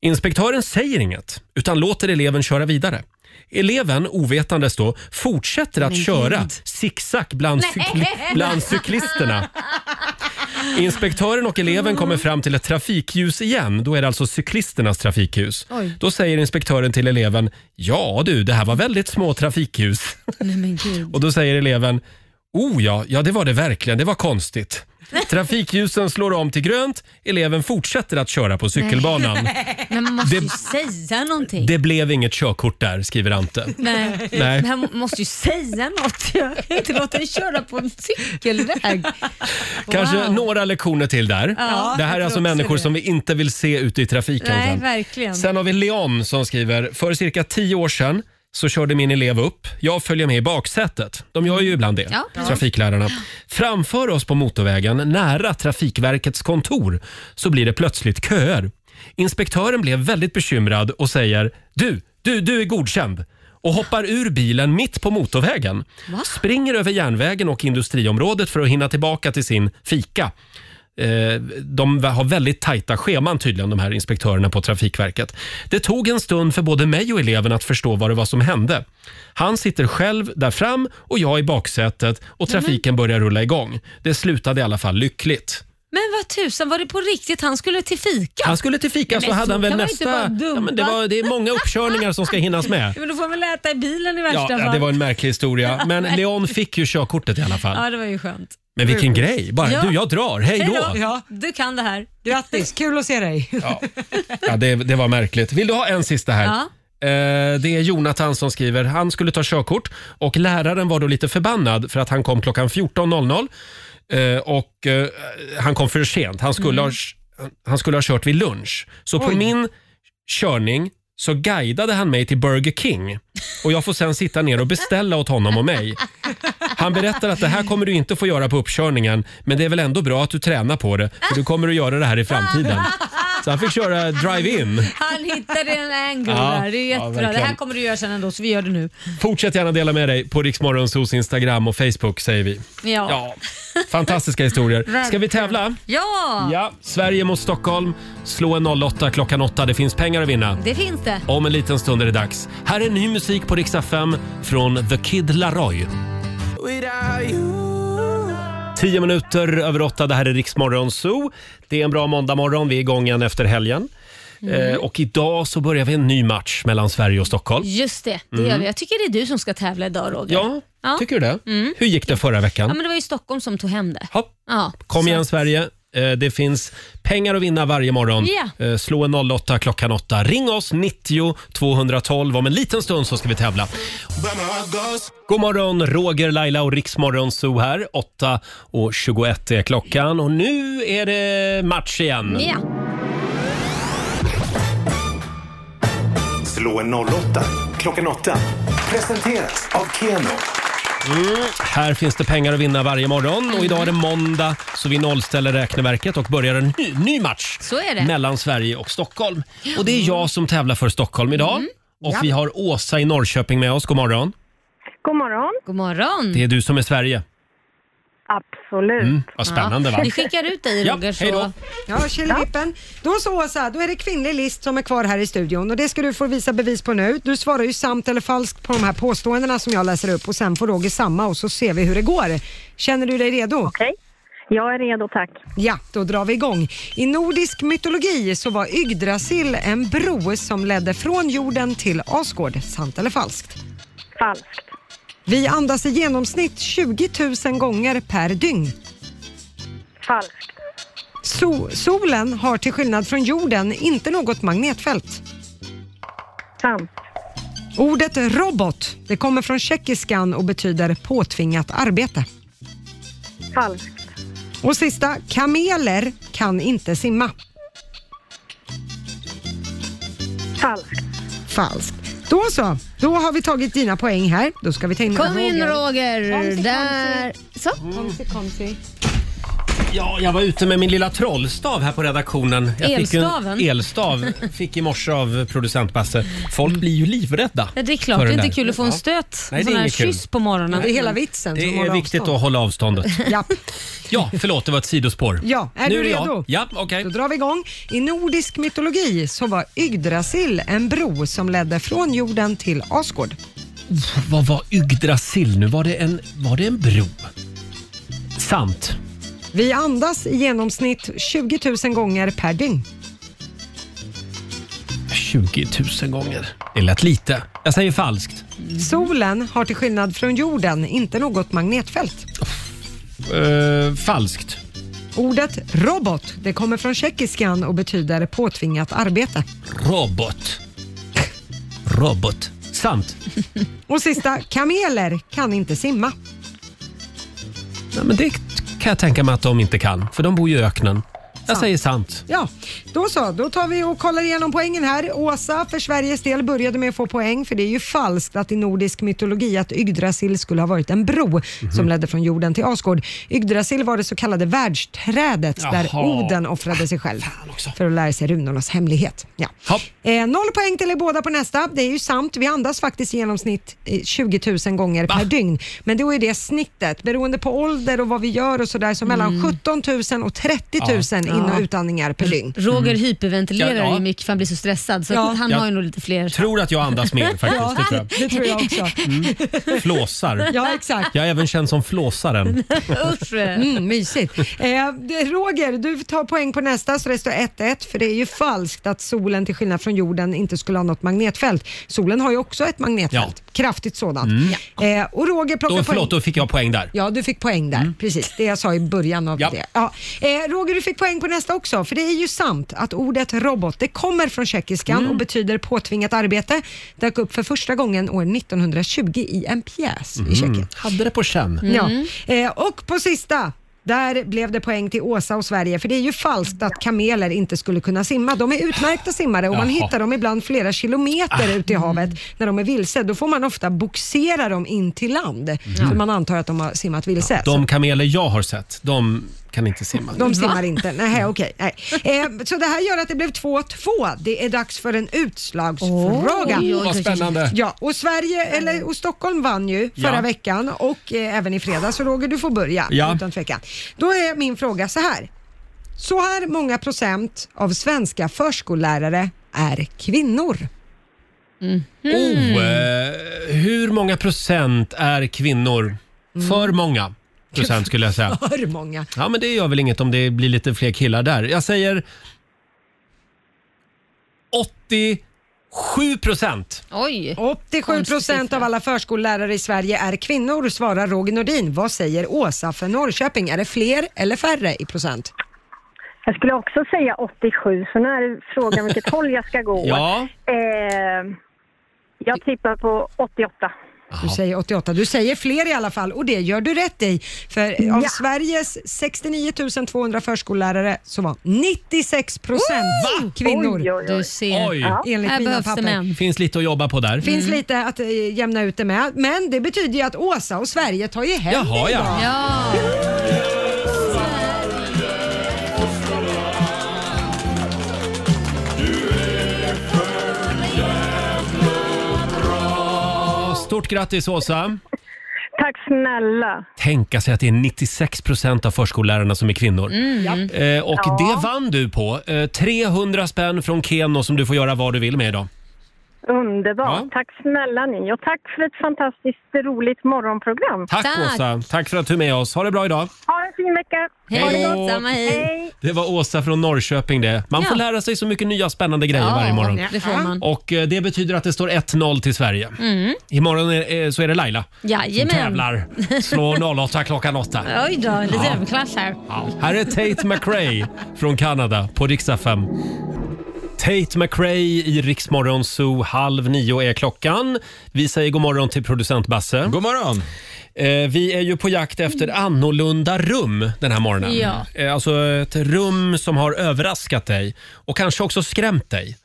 Speaker 1: Inspektören säger inget, utan låter eleven köra vidare. Eleven, ovetandes då, fortsätter att köra zigzag bland, cykli- bland cyklisterna. Inspektören och eleven kommer fram till ett trafikljus igen. Då är det alltså cyklisternas trafikljus.
Speaker 4: Oj.
Speaker 1: Då säger inspektören till eleven, ja du, det här var väldigt små trafikljus.
Speaker 4: Nej men
Speaker 1: (laughs)
Speaker 4: gud.
Speaker 1: Och då säger eleven, oh ja, ja det var det verkligen, det var konstigt. Trafikljusen slår om till grönt, eleven fortsätter att köra på cykelbanan.
Speaker 4: Men man måste ju
Speaker 1: Det-
Speaker 4: säga någonting.
Speaker 1: Det blev inget körkort där, skriver Ante.
Speaker 4: (laughs) Nej.
Speaker 1: Nej.
Speaker 4: Men han måste ju säga något. Jag kan inte låta dig köra på en cykelväg.
Speaker 1: Kanske
Speaker 4: Wow.
Speaker 1: några lektioner till där.
Speaker 4: Ja,
Speaker 1: det här är alltså människor som vi inte vill se ute i trafiken.
Speaker 4: Nej,
Speaker 1: sen.
Speaker 4: verkligen.
Speaker 1: Sen har vi Leon som skriver, för cirka tio år sedan så körde min elev upp. Jag följer med i baksätet. De gör ju ibland det,
Speaker 4: Ja, precis.
Speaker 1: trafiklärarna. Framför oss på motorvägen, nära Trafikverkets kontor, så blir det plötsligt köer. Inspektören blev väldigt bekymrad och säger “Du, du, du är godkänd” och hoppar ur bilen mitt på motorvägen. Springer över järnvägen och industriområdet för att hinna tillbaka till sin fika. Eh, de har väldigt tajta scheman tydligen, de här inspektörerna på Trafikverket. Det tog en stund för både mig och eleven att förstå vad det var som hände. Han sitter själv där fram och jag i baksätet
Speaker 4: Mhm.
Speaker 1: och trafiken börjar rulla igång. Det slutade i alla fall lyckligt.
Speaker 4: Men vad tusan, var det på riktigt? Han skulle till fika?
Speaker 1: Han skulle till fika så
Speaker 4: men
Speaker 1: hade
Speaker 4: så
Speaker 1: han väl
Speaker 4: kan man ju inte
Speaker 1: nästa...
Speaker 4: vara dum,
Speaker 1: Ja, men det,
Speaker 4: va?
Speaker 1: var, det är många uppkörningar som ska hinnas med.
Speaker 4: Ja, Men då får man väl äta i bilen i
Speaker 1: Ja,
Speaker 4: (laughs) värsta fall.
Speaker 1: ja, det var en märklig historia.
Speaker 4: (laughs)
Speaker 1: Men Leon fick ju körkortet i alla fall.
Speaker 4: ja, det var ju skönt.
Speaker 1: Men vilken grej! Bara,
Speaker 4: Ja.
Speaker 1: du, jag drar. Hej
Speaker 4: Hej
Speaker 1: då!
Speaker 4: då.
Speaker 2: Ja,
Speaker 4: Du kan det här.
Speaker 2: grattis, kul att se dig.
Speaker 1: Ja, ja det, det var märkligt. Vill du ha en sista här?
Speaker 4: Ja.
Speaker 1: Eh, Det är Jonathan som skriver. Han skulle ta körkort och läraren var då lite förbannad för att han kom klockan 14.00 eh, och eh, han kom för sent. Han skulle, ha, han skulle ha kört vid lunch. Så på min körning så guidade han mig till Burger King och jag får sen sitta ner och beställa åt honom och mig. Han berättar att det här kommer du inte få göra på uppkörningen men det är väl ändå bra att du tränar på det för du kommer att göra det här i framtiden. Så han fick köra drive-in.
Speaker 4: Han hittade en angle
Speaker 1: Ja,
Speaker 4: där. Det är
Speaker 1: ja,
Speaker 4: jättebra. det
Speaker 1: verkligen.
Speaker 4: här kommer du göra sen ändå, så vi gör det nu.
Speaker 1: Fortsätt gärna dela med dig på Riksmorgonsos Instagram och Facebook säger vi.
Speaker 4: Ja.
Speaker 1: Ja, fantastiska historier. Ska vi tävla?
Speaker 4: Ja,
Speaker 1: Ja, Sverige mot Stockholm. Slå en 08 klockan 8. Det finns pengar att vinna.
Speaker 4: det finns det.
Speaker 1: Om en liten stund är det dags. Här är ny musik på Riksa 5 från The Kid Laroi. Tio minuter över åtta, det här är Riksmorgon Zoo. Det är en bra måndagmorgon, vi är igång igen efter helgen.
Speaker 4: Mm.
Speaker 1: Eh, och idag så börjar vi en ny match mellan Sverige och Stockholm.
Speaker 4: Just det, det gör vi. Jag tycker det är du som ska tävla idag Roger.
Speaker 1: Mm. Ja,
Speaker 4: Ja. Mm.
Speaker 1: tycker du det? Hur gick det förra
Speaker 4: Ja,
Speaker 1: veckan?
Speaker 4: men det var ju Stockholm som tog hem det.
Speaker 1: Hopp.
Speaker 4: Ja.
Speaker 1: Kom
Speaker 4: så-
Speaker 1: igen Sverige. Eh, Det finns pengar att vinna varje morgon.
Speaker 4: Ja.
Speaker 1: Eh, Slå en 08 klockan 8. Ring oss 90 212. Om en liten stund så ska vi tävla. God morgon, Roger, Laila och Riksmorgon Zoo här. 8 och 21 är klockan och nu är det match igen.
Speaker 4: Ja.
Speaker 10: Slå en 08 klockan 8. Presenteras av Keno.
Speaker 1: Här finns det pengar att vinna varje morgon och idag är det måndag så vi nollställer räkneverket och börjar en ny, ny match
Speaker 4: Så är det.
Speaker 1: mellan Sverige och Stockholm. Och det är jag som tävlar för Stockholm idag.
Speaker 4: Mm.
Speaker 1: Och vi har Åsa i Norrköping med oss. God morgon.
Speaker 8: God morgon.
Speaker 4: God morgon.
Speaker 1: Det är du som är Sverige.
Speaker 8: Absolut.
Speaker 1: Mm, vad spännande
Speaker 4: Ja,
Speaker 1: va?
Speaker 4: Vi skickar ut dig
Speaker 1: Ja,
Speaker 4: Roger.
Speaker 1: hej då.
Speaker 4: så...
Speaker 2: Ja, Killevippen. Då så Åsa, då är det kvinnlig list som är kvar här i studion och det ska du få visa bevis på nu. Du svarar ju sant eller falskt på de här påståendena som jag läser upp och sen får Roger samma och så ser vi hur det går. Känner du dig redo?
Speaker 8: Okej. Jag är redo, tack.
Speaker 2: Ja, då drar vi igång. I nordisk mytologi så var Yggdrasil en bro som ledde från jorden till Asgård. Sant eller falskt?
Speaker 8: Falskt.
Speaker 2: Vi andas i genomsnitt 20 000 gånger per dygn.
Speaker 8: Falskt.
Speaker 2: So- solen har till skillnad från jorden inte något magnetfält.
Speaker 8: Sant.
Speaker 2: Ordet robot, det kommer från tjeckiskan och betyder påtvingat arbete.
Speaker 8: Falskt.
Speaker 2: Och sista, kameler kan inte simma.
Speaker 8: Falskt.
Speaker 2: Falskt. Då så, då har vi tagit dina poäng här. Då ska vi ta in
Speaker 4: Kom in Roger.
Speaker 2: Kom, kom,
Speaker 4: Där. Så.
Speaker 1: Mm. Ja, jag var ute med min lilla trollstav här på redaktionen. Jag
Speaker 4: Elstaven?
Speaker 1: Fick ju en elstav fick i morse av producent Basse. Folk blir ju livrädda.
Speaker 4: Ja, det är klart
Speaker 1: för
Speaker 4: det är
Speaker 1: den
Speaker 4: inte
Speaker 1: där.
Speaker 4: kul att få en stöt.
Speaker 1: Nej, det är
Speaker 4: en sån här
Speaker 1: inget kul. Mm.
Speaker 4: kyss på morgonen.
Speaker 2: Det är hela vitsen. som
Speaker 1: Det är
Speaker 2: håller
Speaker 1: viktigt
Speaker 2: avstånd.
Speaker 1: att hålla avståndet.
Speaker 2: Ja.
Speaker 1: Ja, förlåt, det var ett sidospår.
Speaker 2: Ja,
Speaker 1: nu
Speaker 2: är du
Speaker 1: är det
Speaker 2: redo?
Speaker 1: Jag. Ja, okej.
Speaker 2: Då drar vi igång. I nordisk mytologi så var Yggdrasil en bro som ledde från jorden till Asgård.
Speaker 1: Vad var Yggdrasil nu? Var det en, var det en bro? Sant.
Speaker 2: Vi andas i genomsnitt 20 000 gånger per dygn.
Speaker 1: 20 000 gånger. Det lät lite. Jag säger falskt.
Speaker 2: Solen har till skillnad från jorden inte något magnetfält.
Speaker 1: Eh, falskt.
Speaker 2: Ordet robot, det kommer från tjeckiskan och betyder påtvingat arbete.
Speaker 1: Robot. Robot. Sant.
Speaker 2: Och sista, kameler kan inte simma.
Speaker 1: Nej, men det kan jag tänka mig att de inte kan, för de bor ju i öknen. Jag säger sant.
Speaker 2: Ja, då så. Då tar vi och kollar igenom poängen här. Åsa för Sveriges del började med att få poäng för det är ju falskt att i nordisk mytologi att Yggdrasil skulle ha varit en bro som ledde från jorden till Asgård. Yggdrasil var det så kallade världsträdet där
Speaker 1: Jaha.
Speaker 2: Oden offrade sig själv för att lära sig runornas hemlighet. Ja.
Speaker 1: Hopp.
Speaker 2: Eh, noll poäng till er båda på nästa. Det är ju sant. Vi andas faktiskt i genomsnitt eh, 20 000 gånger per dygn. Men då är det snittet. Beroende på ålder och vad vi gör och sådär så mellan
Speaker 1: Mm.
Speaker 2: 17 000 och 30 000 in och utandningar per dygn.
Speaker 4: Roger hyperventilerar
Speaker 1: Ja, ja.
Speaker 4: ju mycket för han blir så stressad så
Speaker 2: Ja.
Speaker 4: han
Speaker 1: Ja.
Speaker 4: har ju nog lite fler.
Speaker 1: Tror att jag andas
Speaker 2: (laughs)
Speaker 1: mer faktiskt. Det tror
Speaker 2: det tror jag också.
Speaker 1: jag. Flåsar.
Speaker 2: Ja, exakt.
Speaker 1: Jag är även känd som
Speaker 2: (laughs)
Speaker 1: flåsaren.
Speaker 4: Usch.
Speaker 2: Mm, mysigt. Eh, det- Roger, du tar poäng på nästa så det står 1-1 för det är ju falskt att solen till skillnad från jorden inte skulle ha något magnetfält. Solen har ju också ett magnetfält, kraftigt sådant. Eh, och
Speaker 1: Mm.
Speaker 2: Roger plockar
Speaker 1: Då,
Speaker 2: poäng.
Speaker 1: förlåt, då fick jag poäng där. Mm.
Speaker 2: Ja, du fick poäng där. Precis, det jag sa i början av
Speaker 1: Ja.
Speaker 2: det. Ja. Eh, Roger, du fick poäng på nästa också, för det är ju sant att ordet robot, det kommer från tjeckiskan
Speaker 1: Mm.
Speaker 2: och betyder påtvingat arbete. Dök upp för första gången år 1920 i en pjäs
Speaker 1: Mm.
Speaker 2: i Tjeckien.
Speaker 1: Hade det på känn.
Speaker 2: Ja. Eh, och på sista, där blev det poäng till Åsa och Sverige, för det är ju falskt att kameler inte skulle kunna simma. De är utmärkta simmare och man
Speaker 1: Jaha.
Speaker 2: hittar dem ibland flera kilometer ute i havet när de är vilse. Då får man ofta boxera dem in till land, för man antar att de har simmat vilse. Så-
Speaker 1: Mm. De kameler jag har sett, de kan inte simma.
Speaker 2: de simmar inte. Nähä, okej. Nej. Eh, så det här gör att det blev 2-2. Det är dags för en utslagsfråga.
Speaker 4: Oj, oj, oj,
Speaker 1: Vad
Speaker 4: oj.
Speaker 1: spännande.
Speaker 2: Ja, och Sverige, eller och Stockholm vann ju förra
Speaker 1: Ja.
Speaker 2: veckan och eh, även i fredags. Så Roger, du får börja
Speaker 1: Ja.
Speaker 2: utan tvekan. Då är min fråga så här. Så här många procent av svenska förskollärare är kvinnor.
Speaker 1: Oh, eh, hur många procent är kvinnor? För många procent skulle jag
Speaker 2: (laughs)
Speaker 1: säga.
Speaker 2: För många.
Speaker 1: (laughs) Ja, men det gör väl inget om det blir lite fler killar där. Jag säger 87 procent.
Speaker 4: Oj.
Speaker 2: 87 procent av alla förskollärare i Sverige är kvinnor, svarar Roger Nordin. Vad säger Åsa för Norrköping? Är det fler eller färre i procent?
Speaker 8: Jag skulle också säga 87, så nu är frågan vilket håll jag ska gå.
Speaker 1: Ja,
Speaker 8: Eh, jag tippar på 88.
Speaker 2: Du säger 88. Du säger fler i alla fall och det gör du rätt i. För av Sveriges 69 200 förskollärare så var 96 procent kvinnor.
Speaker 8: Oj, oj,
Speaker 4: Du
Speaker 8: oj.
Speaker 4: ser.
Speaker 1: Oj.
Speaker 2: Enligt
Speaker 4: Här
Speaker 2: mina
Speaker 4: behövs det
Speaker 2: papper.
Speaker 4: män.
Speaker 1: Finns lite att jobba på där.
Speaker 2: finns lite att eh, jämna ut det med. Men det betyder ju att Åsa och Sverige tar ju hem
Speaker 1: Jaha,
Speaker 2: det
Speaker 1: ja.
Speaker 2: idag.
Speaker 4: Ja.
Speaker 1: Ja, Stort grattis Åsa!
Speaker 8: Tack snälla.
Speaker 1: Tänka sig att det är 96 procent av förskollärarna som är kvinnor.
Speaker 4: Mm.
Speaker 1: Eh, och det vann du på. Eh, 300 spänn från Keno som du får göra vad du vill med idag.
Speaker 8: Underbart.
Speaker 1: Ja.
Speaker 8: Tack snälla ni och tack för ett fantastiskt roligt morgonprogram.
Speaker 1: Tack,
Speaker 4: Tack.
Speaker 1: Åsa! Tack för att du är med oss. Ha det bra idag!
Speaker 8: Ha en fin vecka.
Speaker 1: Hej
Speaker 4: Hej
Speaker 1: då.
Speaker 4: då. Samma hej.
Speaker 8: Hej.
Speaker 1: Det var Åsa från Norrköping det. Man får
Speaker 4: Ja.
Speaker 1: lära sig så mycket nya spännande grejer varje morgon.
Speaker 4: det får man.
Speaker 1: Och eh, det betyder att det står 1-0 till Sverige. Imorgon är, eh, så är det Laila som
Speaker 4: Mm. Jajamän.
Speaker 1: tävlar.
Speaker 4: (laughs)
Speaker 1: Slår 08 klockan 8.
Speaker 4: Oj då, lite överklass här.
Speaker 1: Ja. Här är Tate McRae från Kanada på riksdag 5. Tate McRae i Riksmorgon Zoo. Halv nio är klockan. Vi säger god morgon till producent Basse.
Speaker 7: God morgon!
Speaker 1: Eh, vi är ju på jakt efter annorlunda rum den här morgonen.
Speaker 4: Ja.
Speaker 1: Eh, alltså ett rum som har överraskat dig och kanske också skrämt dig.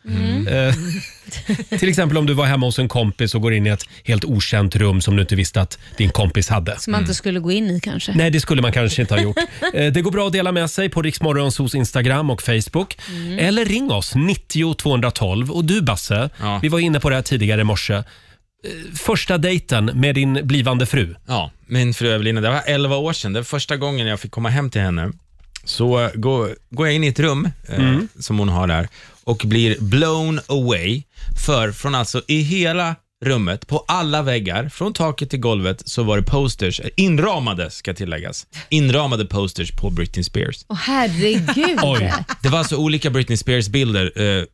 Speaker 1: Eh, till exempel om du var hemma hos en kompis och går in i ett helt okänt rum som du inte visste att din kompis hade.
Speaker 4: Som man inte skulle gå in i kanske.
Speaker 1: Mm. Nej, det skulle man kanske inte ha gjort. Eh, Det går bra att dela med sig på Riksmorgonsos Instagram och Facebook. Eller ring oss, 90 212. Och du Basse,
Speaker 7: Ja.
Speaker 1: vi var inne på det här tidigare i morse. Eh, Första dejten med din blivande fru.
Speaker 7: Ja, min fru Evelina, det var 11 år sedan. Det var första gången jag fick komma hem till henne. Så eh, går, går jag in i ett rum eh, som hon har där och blir blown away. För från alltså i hela rummet, på alla väggar, från taket till golvet så var det posters, eh, inramade ska tilläggas, inramade posters på Britney Spears.
Speaker 4: Åh herregud.
Speaker 1: Oj.
Speaker 7: Det var alltså olika Britney Spears-bilder eh,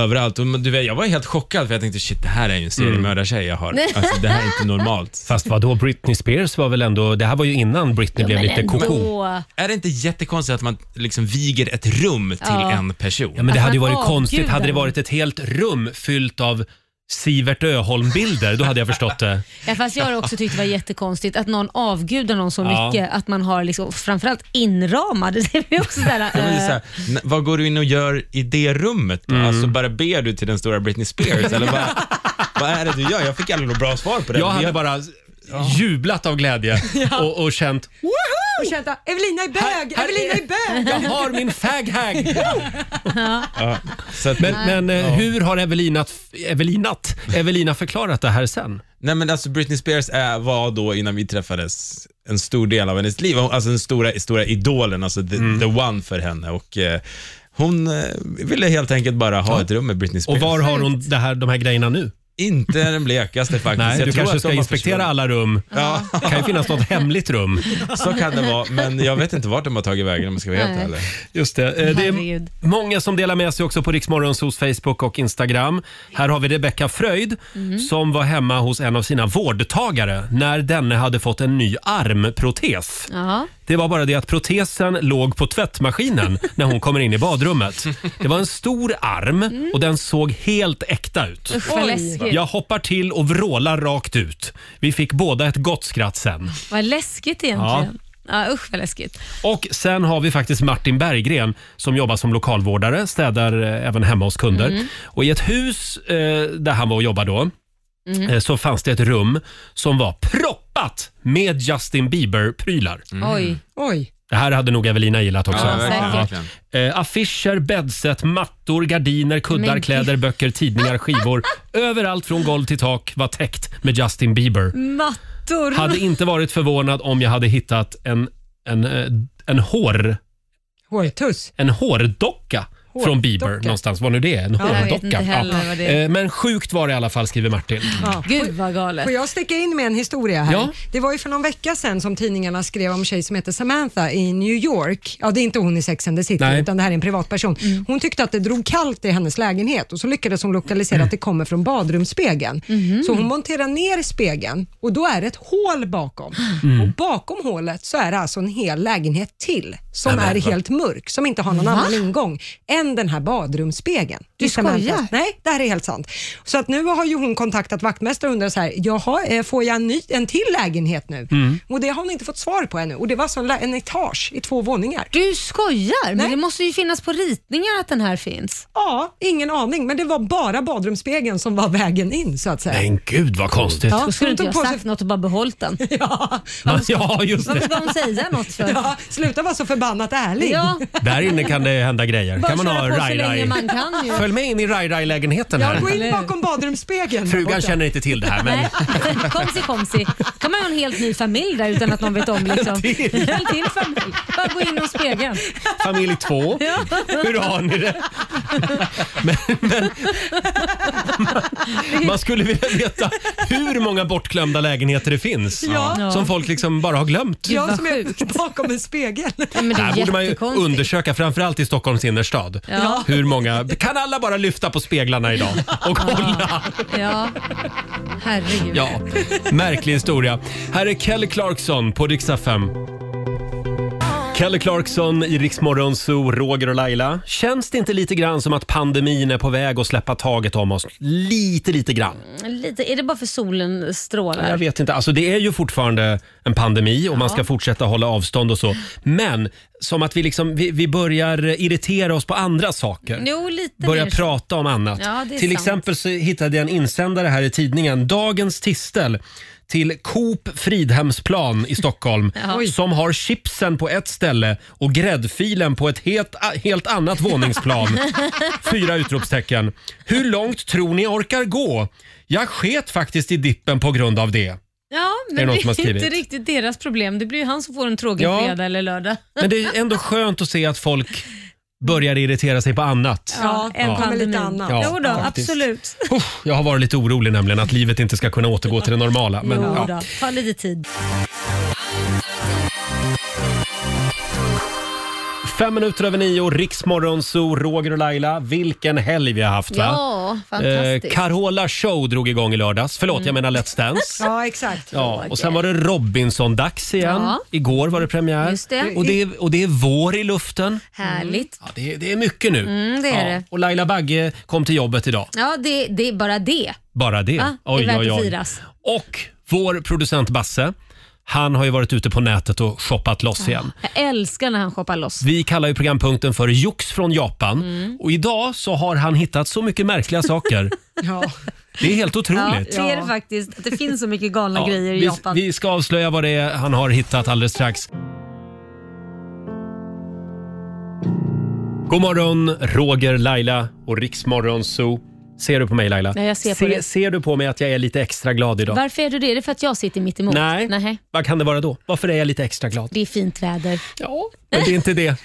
Speaker 7: överallt. Och, men du vet, jag var helt chockad för jag tänkte shit, det här är ju en seriemördartjej jag har. Alltså, det här är inte normalt.
Speaker 1: Fast vadå, Britney Spears var väl ändå... Det här var ju innan Britney blev lite koko.
Speaker 4: Åh.
Speaker 7: Är det inte jättekonstigt att man liksom viger ett rum till
Speaker 4: Ja.
Speaker 7: en person?
Speaker 1: Ja, men det
Speaker 4: Att
Speaker 1: hade ju
Speaker 4: man
Speaker 1: varit konstigt.
Speaker 4: avgudar
Speaker 1: Hade det
Speaker 4: dem.
Speaker 1: varit ett helt rum fyllt av Sivert Öholm-bilder, då hade jag förstått
Speaker 7: (laughs)
Speaker 1: det.
Speaker 4: Ja, fast jag har också tyckt det var jättekonstigt att någon avgudar någon så
Speaker 1: Ja.
Speaker 4: mycket att man har liksom, framförallt inramad. (laughs) Det blir också sådär,
Speaker 7: Jag menar
Speaker 4: eh,
Speaker 7: så här, n- vad går du in och gör i det rummet
Speaker 1: Mm.
Speaker 7: då? Alltså bara ber du till den stora Britney Spears eller
Speaker 1: (laughs)
Speaker 7: vad, vad är det du gör? Jag fick aldrig något bra svar på det.
Speaker 1: Jag
Speaker 7: Men
Speaker 1: hade bara jublat av
Speaker 4: (laughs)
Speaker 1: glädje och, och känt
Speaker 2: Och känt att Evelina är bög,
Speaker 1: här
Speaker 2: Evelina är bög.
Speaker 1: Jag har min fag-hag!
Speaker 7: ja, så att,
Speaker 1: Men, men eh, hur har Evelinat, Evelinat, Evelina förklarat det här sen?
Speaker 7: Nej men alltså Britney Spears är, var då innan vi träffades en stor del av hennes liv, alltså den stora, stora idolen, alltså the,
Speaker 1: Mm.
Speaker 7: the one för henne. Och, eh, hon eh, ville helt enkelt bara ha ett rum med Britney
Speaker 1: Och
Speaker 7: Spears.
Speaker 1: var har hon det här, de här grejerna nu?
Speaker 7: Inte den blekaste faktiskt.
Speaker 1: Nej,
Speaker 7: Jag
Speaker 1: du kanske
Speaker 7: tror att de
Speaker 1: ska
Speaker 7: har
Speaker 1: inspektera
Speaker 7: försvunnit.
Speaker 1: alla rum.
Speaker 7: Ja,
Speaker 1: Det kan ju finnas något hemligt rum.
Speaker 7: så kan det vara, men jag vet inte vart de har tagit vägen om jag ska vara helt
Speaker 4: Nej.
Speaker 7: ärlig.
Speaker 1: Just det. Eh, Det är
Speaker 4: Herregud.
Speaker 1: många som delar med sig också på Riksmorgons hos Facebook och Instagram. Här har vi Rebecka Fröjd
Speaker 4: Mm.
Speaker 1: som var hemma hos en av sina vårdtagare när denne hade fått en ny armprotes.
Speaker 4: ja.
Speaker 1: Det var bara det att protesen låg på
Speaker 4: (laughs)
Speaker 1: tvättmaskinen när hon kommer in i badrummet. Det var en stor arm och den såg helt äkta ut.
Speaker 4: Mm. Usch vad läskigt.
Speaker 1: Jag hoppar till och vrålar rakt ut. Vi fick båda ett gott skratt sen.
Speaker 4: Vad läskigt egentligen. Ja. usch vad läskigt.
Speaker 1: Och sen har vi faktiskt Martin Berggren som jobbar som lokalvårdare, städar eh, även hemma hos kunder. Och i ett hus eh, där han var och jobbade då, eh, så fanns det ett rum som var proppat med Justin Bieber-prylar.
Speaker 4: Oj.
Speaker 2: Oj.
Speaker 1: Det här hade nog Evelina gillat också.
Speaker 4: Mm. Ja, verkligen,
Speaker 7: verkligen.
Speaker 1: Eh, affischer, bäddset, mattor, gardiner, kuddar,
Speaker 4: Men-
Speaker 1: kläder, böcker, tidningar, skivor. Överallt från golv till tak var täckt med Justin Bieber.
Speaker 4: Mattor.
Speaker 1: Hade inte varit förvånad om jag hade hittat en, en, eh, en, hår,
Speaker 2: Hårtuss.
Speaker 1: en hårdocka från Bieber
Speaker 2: Hårdocka.
Speaker 1: någonstans. Vad nu det är. En
Speaker 4: jag vet
Speaker 1: hårdocka.
Speaker 4: inte heller
Speaker 1: Ja.
Speaker 4: vad det är.
Speaker 1: Eh, Men sjukt var det i alla fall, skriver Martin.
Speaker 2: Ja.
Speaker 4: Gud vad galet.
Speaker 2: Får jag sticka in med en historia här?
Speaker 1: Ja.
Speaker 2: Det var ju för någon vecka sedan som tidningarna skrev om en tjej som heter Samantha i New York. Ja, det är inte hon i Sex and the City,
Speaker 1: Nej. Mm.
Speaker 2: utan det här är en privatperson. Hon tyckte att det drog kallt i hennes lägenhet och så lyckades hon lokalisera att det kommer från badrumsspegeln.
Speaker 1: Mm-hmm.
Speaker 2: Så hon monterar ner spegeln och då är det ett hål bakom.
Speaker 1: Mm.
Speaker 2: Och bakom hålet så är det alltså en hel lägenhet till som är helt mörk, som inte har någon annan ingång. En igen den här badrumsspegeln.
Speaker 4: Du
Speaker 2: Gissa med
Speaker 4: skojar?
Speaker 2: en plats. Nej, det här är helt sant. Så att nu har ju hon kontaktat vaktmästaren och undrar så här, jaha, eh, får jag en, ny, en till lägenhet nu?
Speaker 1: Mm.
Speaker 2: Och det har hon inte fått svar på ännu. Och det var så en lä- en etage i två våningar.
Speaker 4: Du skojar? Men
Speaker 2: Nej.
Speaker 4: det måste ju finnas på ritningar att den här finns.
Speaker 2: Ja, ingen aning, men det var bara badrumsspegeln som var vägen in så att säga.
Speaker 1: Men gud vad konstigt.
Speaker 2: Ja.
Speaker 4: Då skulle
Speaker 2: Hon
Speaker 4: inte
Speaker 2: tog
Speaker 4: jag
Speaker 2: på
Speaker 4: sagt
Speaker 2: sig-
Speaker 4: något och bara behållit den.
Speaker 2: (laughs)
Speaker 1: (laughs)
Speaker 2: Ja,
Speaker 1: Ja, just
Speaker 4: Varför (laughs)
Speaker 1: det.
Speaker 4: ska hon säga något för?
Speaker 2: ja, sluta vara så förbannat ärlig.
Speaker 4: Ja,
Speaker 1: Där inne kan det hända grejer.
Speaker 4: bara
Speaker 1: Kan man ha
Speaker 4: köra på så länge
Speaker 1: raj-raj?
Speaker 4: man kan ju.
Speaker 1: (laughs) Följ med in i raj-raj-lägenheten
Speaker 2: Ja,
Speaker 1: här.
Speaker 2: gå in bakom badrumsspegeln. där
Speaker 1: Frugan
Speaker 2: borta.
Speaker 1: känner inte till det här men
Speaker 4: Nej, (laughs) komsi komsi. kan man ju ha en helt ny familj där utan att någon vet
Speaker 1: (laughs)
Speaker 4: om. Liksom.
Speaker 1: En till.
Speaker 4: En till familj. Bara gå in och spegeln.
Speaker 1: (laughs) familj två,
Speaker 4: (laughs) Ja.
Speaker 1: hur har ni
Speaker 4: (laughs)
Speaker 1: det? Men, men, man, man skulle vilja veta hur många bortglömda lägenheter det finns
Speaker 2: Ja.
Speaker 1: som folk liksom bara har glömt.
Speaker 2: Jag som är bakom en spegel.
Speaker 4: Ja, men det
Speaker 1: Det här
Speaker 4: är
Speaker 1: borde man ju
Speaker 4: jättekonstigt.
Speaker 1: undersöka, framförallt i Stockholms innerstad.
Speaker 4: Ja.
Speaker 1: Hur många, kan alla bara lyfta på speglarna idag och kolla?
Speaker 4: Ja. Herregud.
Speaker 1: Ja, märklig historia. Här är Kelly Clarkson på Rix FM. Kelly Clarkson i Rix Morgon Zoo, Roger och Laila. Känns det inte lite grann som att pandemin är på väg att släppa taget om oss? Lite, lite grann.
Speaker 4: Lite, är det bara för solen
Speaker 1: Jag
Speaker 4: strålar?
Speaker 1: vet inte. Alltså, det är ju fortfarande en pandemi och man ska fortsätta hålla avstånd och så. Men som att vi, liksom, vi, vi börjar irritera oss på andra saker.
Speaker 4: Jo, lite
Speaker 1: Börja
Speaker 4: mer.
Speaker 1: prata om annat.
Speaker 4: Ja, det är
Speaker 1: till
Speaker 4: sant.
Speaker 1: exempel så hittade jag en insändare här i tidningen, Dagens Tistel, till Coop Fridhemsplan i
Speaker 4: (laughs)
Speaker 1: Stockholm som har chipsen på ett ställe och gräddfilen på ett helt, helt annat
Speaker 4: (laughs)
Speaker 1: våningsplan. Fyra utropstecken. Hur långt tror ni orkar gå? Jag sket faktiskt i dippen på grund av det.
Speaker 4: Ja,
Speaker 1: Är det
Speaker 4: men
Speaker 1: någon
Speaker 4: det
Speaker 1: som har
Speaker 4: är
Speaker 1: skrivit?
Speaker 4: inte riktigt deras problem. Det blir ju han som får en tråkig
Speaker 1: Ja.
Speaker 4: fredag eller lördag.
Speaker 1: Men det är ändå skönt att se att folk börjar irritera sig på annat.
Speaker 2: Ja,
Speaker 4: en
Speaker 2: det kommer lite
Speaker 4: pandemi.
Speaker 2: annat.
Speaker 1: Ja,
Speaker 4: jo då,
Speaker 1: faktiskt.
Speaker 4: absolut.
Speaker 1: Uff, Jag har varit lite orolig nämligen att livet inte ska kunna återgå till det normala. Men,
Speaker 4: jo
Speaker 1: ja.
Speaker 4: då, ta lite tid.
Speaker 1: Fem minuter över nio, Riksmorgonzoo, Roger och Laila. Vilken helg vi har haft va?
Speaker 4: Ja,
Speaker 1: Eh,
Speaker 4: fantastiskt. Mm.
Speaker 1: Carola show drog igång i lördags. Förlåt, jag menar Let's Dance.
Speaker 2: Ja, exakt.
Speaker 1: Ja, och sen var det Robinson-dags igen.
Speaker 4: Oh Ja.
Speaker 1: Igår var det premiär.
Speaker 4: Just det.
Speaker 1: Och, det är, och det är vår i luften.
Speaker 4: Härligt.
Speaker 1: Ja, det, är, det är mycket nu.
Speaker 4: Mm, det är
Speaker 1: ja.
Speaker 4: det.
Speaker 1: Och Laila Bagge kom till jobbet idag.
Speaker 4: Ja, det, det är bara det.
Speaker 1: Bara det.
Speaker 4: Ja, Ah, det är värt att firas.
Speaker 1: Och vår producent Basse, han har ju varit ute på nätet och shoppat
Speaker 4: Ah.
Speaker 1: loss igen.
Speaker 4: Jag älskar när han shoppar loss.
Speaker 1: Vi kallar ju programpunkten för Jox från Japan.
Speaker 4: Mm.
Speaker 1: Och idag så har han hittat så mycket märkliga
Speaker 4: (laughs)
Speaker 1: saker.
Speaker 2: Ja.
Speaker 1: Det är helt
Speaker 4: Ja,
Speaker 1: otroligt.
Speaker 4: det är det faktiskt. Att det finns så mycket
Speaker 1: (laughs)
Speaker 4: galna
Speaker 1: Ja,
Speaker 4: grejer i
Speaker 1: vi,
Speaker 4: Japan.
Speaker 1: vi ska avslöja vad det är han har hittat alldeles strax. God morgon, Roger, Laila och Riksmorgon Zoo. Ser du på mig Laila?
Speaker 4: Ja, jag ser på dig.
Speaker 1: Ser du på mig att jag är lite extra glad idag?
Speaker 4: Varför är du det? Är det för att jag sitter mitt emot?
Speaker 1: Nej.
Speaker 4: Nähä.
Speaker 1: Vad kan det vara då? Varför är jag lite extra glad?
Speaker 4: Det är fint väder.
Speaker 1: Ja. Men det är inte det.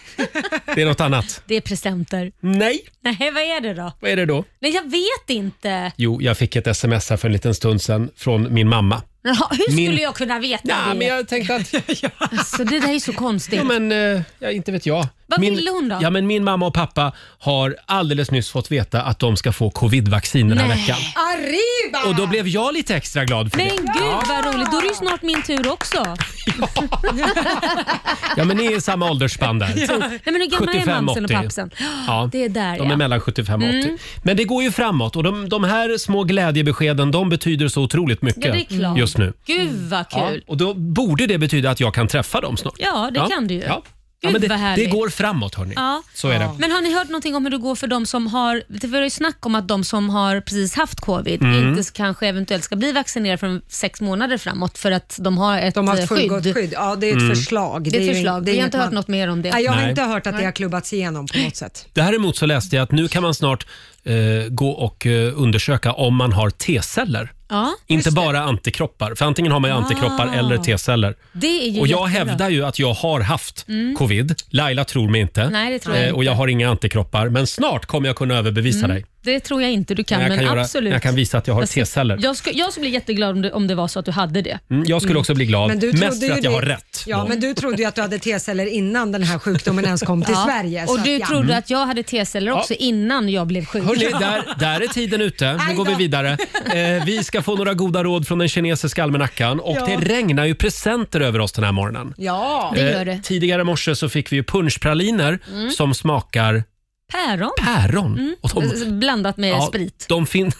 Speaker 1: Det är något annat.
Speaker 4: Det är presenter.
Speaker 1: Nej,
Speaker 4: Nej, vad är det då?
Speaker 1: vad är det då?
Speaker 4: Nej, jag vet inte.
Speaker 1: Jo, jag fick ett sms här för en liten stund sedan från min mamma.
Speaker 4: Jaha, hur
Speaker 1: Min-
Speaker 4: skulle jag kunna veta
Speaker 1: Ja,
Speaker 4: det?
Speaker 1: men jag tänkte att,
Speaker 4: alltså, det där är ju så konstigt.
Speaker 1: ja men, eh, ja, inte vet jag.
Speaker 4: Vad
Speaker 1: min,
Speaker 4: ville hon då?
Speaker 1: Ja, men min mamma och pappa har alldeles nyss fått veta att de ska få covid-vaccin den här
Speaker 4: Nej. Ah.
Speaker 1: veckan.
Speaker 2: Arriba!
Speaker 1: Och då blev jag lite extra glad för
Speaker 4: Men
Speaker 1: det.
Speaker 4: gud vad roligt, då är det ju snart min tur också.
Speaker 1: Ja, men ni är i samma åldersspann
Speaker 4: (laughs)
Speaker 1: där.
Speaker 4: Nej, men hur gammal är
Speaker 1: 75,
Speaker 4: mamsen och
Speaker 1: 80.
Speaker 4: pappsen?
Speaker 1: Ja,
Speaker 4: (gasps) Det är där
Speaker 1: de är
Speaker 4: ja. Mm.
Speaker 1: mellan 75 och 80. Men det går ju framåt och de, de här små glädjebeskeden de betyder så otroligt
Speaker 4: Ja, det är
Speaker 1: mycket
Speaker 4: klart.
Speaker 1: just nu.
Speaker 4: Gud vad
Speaker 1: Ja,
Speaker 4: kul.
Speaker 1: och då borde det betyda att jag kan träffa dem snart.
Speaker 4: Ja, det kan du ju.
Speaker 1: Ja. Ja, men
Speaker 4: Gud, vad
Speaker 1: det, det
Speaker 4: härligt.
Speaker 1: går framåt hörni.
Speaker 4: Ja.
Speaker 1: Så är det.
Speaker 4: Men har ni hört någonting om hur det går för de som har, det var ju snack om att de som har precis haft covid
Speaker 1: Mm.
Speaker 4: inte s- kanske eventuellt ska bli vaccinerade från sex månader framåt för att de har ett
Speaker 2: De har
Speaker 4: eh,
Speaker 2: ett fullgott skydd. Ja, det är ett förslag.
Speaker 4: Det är
Speaker 2: ju
Speaker 4: ett förslag.
Speaker 2: in- det är
Speaker 4: Vi har
Speaker 2: inget
Speaker 4: inte hört något mer om det.
Speaker 2: Nej, jag har
Speaker 1: Mm. Nej.
Speaker 2: inte hört att det har klubbats igenom på något sätt.
Speaker 1: Däremot så läste jag att nu kan man snart eh, gå och eh, undersöka om man har T-celler.
Speaker 4: Ja, Ah.
Speaker 1: Inte bara antikroppar, för antingen har man ju antikroppar eller T-celler.
Speaker 4: det är ju
Speaker 1: Och jag
Speaker 4: jättebra. Mm.
Speaker 1: hävdar ju att jag har haft covid. Laila tror mig inte. Eh,
Speaker 4: Nej, det tror jag
Speaker 1: och jag har inga antikroppar. Men snart kommer jag kunna överbevisa dig.
Speaker 4: Det tror jag inte du kan,
Speaker 1: jag,
Speaker 4: men
Speaker 1: kan
Speaker 4: absolut.
Speaker 1: jag kan visa att jag har
Speaker 4: Jag ska-
Speaker 1: T-celler.
Speaker 4: Jag, sku, jag skulle bli jätteglad om det, om det var så att du hade det.
Speaker 1: Mm, Jag skulle också bli glad.
Speaker 2: Men du
Speaker 1: Mest
Speaker 2: trodde
Speaker 1: för
Speaker 2: ju
Speaker 1: att jag
Speaker 2: det-
Speaker 1: har rätt.
Speaker 2: Ja,
Speaker 1: då.
Speaker 2: men du trodde ju att du hade T-celler innan den här sjukdomen ens kom till
Speaker 4: Ja.
Speaker 2: Sverige. så
Speaker 4: Och
Speaker 2: att,
Speaker 4: du
Speaker 2: ja.
Speaker 4: trodde att jag hade T-celler också innan jag blev sjuk.
Speaker 1: Hörrni, Mm. där, där är tiden ute. Nu
Speaker 2: Aj
Speaker 1: går vi
Speaker 2: då.
Speaker 4: (laughs)
Speaker 1: vidare. Eh, vi ska få några goda råd från den kinesiska almanackan. Och det regnar ju presenter över oss den här morgonen.
Speaker 2: Ja.
Speaker 4: det Mm. gör
Speaker 1: Eh,
Speaker 4: det.
Speaker 1: Tidigare i morse så fick vi ju punschpraliner som smakar
Speaker 4: Päron. Eh,
Speaker 1: Päron!
Speaker 4: Mm.
Speaker 1: Och de,
Speaker 4: Blandat med
Speaker 1: ja,
Speaker 4: Alltså, sprit.
Speaker 1: De, fin-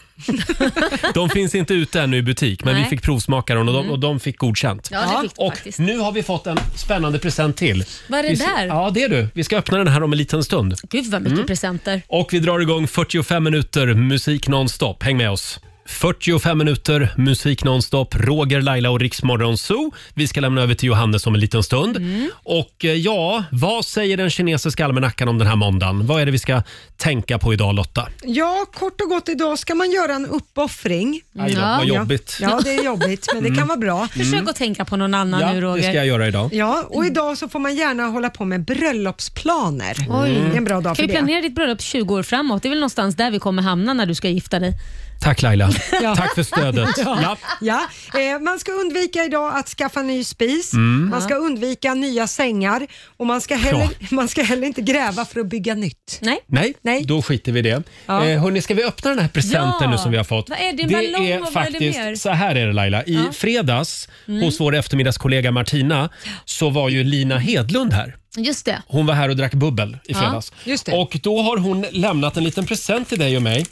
Speaker 1: (laughs) de finns inte ute ännu i butik, men vi
Speaker 4: Nej. Mm.
Speaker 1: fick provsmaka dem och de, och de fick godkänt.
Speaker 4: Ja, det fick de
Speaker 1: Och
Speaker 4: faktiskt.
Speaker 1: nu har vi fått en spännande present till.
Speaker 4: Vad är det
Speaker 1: Vi ska-
Speaker 4: där?
Speaker 1: Ja, det är du. Vi ska öppna den här om en liten stund.
Speaker 4: Gud vad mycket
Speaker 1: Mm.
Speaker 4: presenter.
Speaker 1: Och vi drar igång 45 minuter musik nonstop. Häng med oss. 45 minuter musik nonstop. Roger, Laila och Riksmorgon Zoo. Vi ska lämna över till Johannes om en liten stund. Och eh, ja, vad säger den kinesiska almanackan om den här måndagen? Vad är det vi ska tänka på idag Lotta?
Speaker 2: Ja, kort och gott idag ska man göra en uppoffring.
Speaker 1: Aj då,
Speaker 4: Ja.
Speaker 1: vad jobbigt. Mm.
Speaker 2: Ja, det är jobbigt, men det kan vara bra.
Speaker 4: Försök att tänka på någon annan
Speaker 1: Ja,
Speaker 4: nu
Speaker 1: det ska
Speaker 4: Roger.
Speaker 1: jag göra idag.
Speaker 2: Ja, och idag så får man gärna hålla på med bröllopsplaner. Det är en bra dag
Speaker 4: Kan
Speaker 2: för
Speaker 4: vi
Speaker 2: det.
Speaker 4: planera ditt bröllop 20 år framåt? Det är väl någonstans där vi kommer hamna när du ska gifta dig.
Speaker 1: Tack Laila. Tack för stödet. Ja.
Speaker 2: Ja, eh, man ska undvika idag att skaffa ny spis,
Speaker 1: Mm.
Speaker 2: man ska undvika nya sängar och man ska, heller, (laughs) man ska heller inte gräva för att bygga nytt.
Speaker 4: Nej?
Speaker 1: Nej,
Speaker 2: Nej.
Speaker 1: då skiter vi i det.
Speaker 2: Ja.
Speaker 1: Eh, hörni, ska vi öppna den här presenten
Speaker 4: Ja.
Speaker 1: nu som vi har fått?
Speaker 4: Vad är det? En ballong och vad är det
Speaker 1: faktiskt,
Speaker 4: mer? Mm.
Speaker 1: Så här är det Laila. I fredags hos vår eftermiddagskollega Martina så var ju Lina Hedlund här.
Speaker 4: Just det.
Speaker 1: Hon var här och drack bubbel i fredags.
Speaker 2: just det.
Speaker 1: och då har hon lämnat en liten present till dig och mig.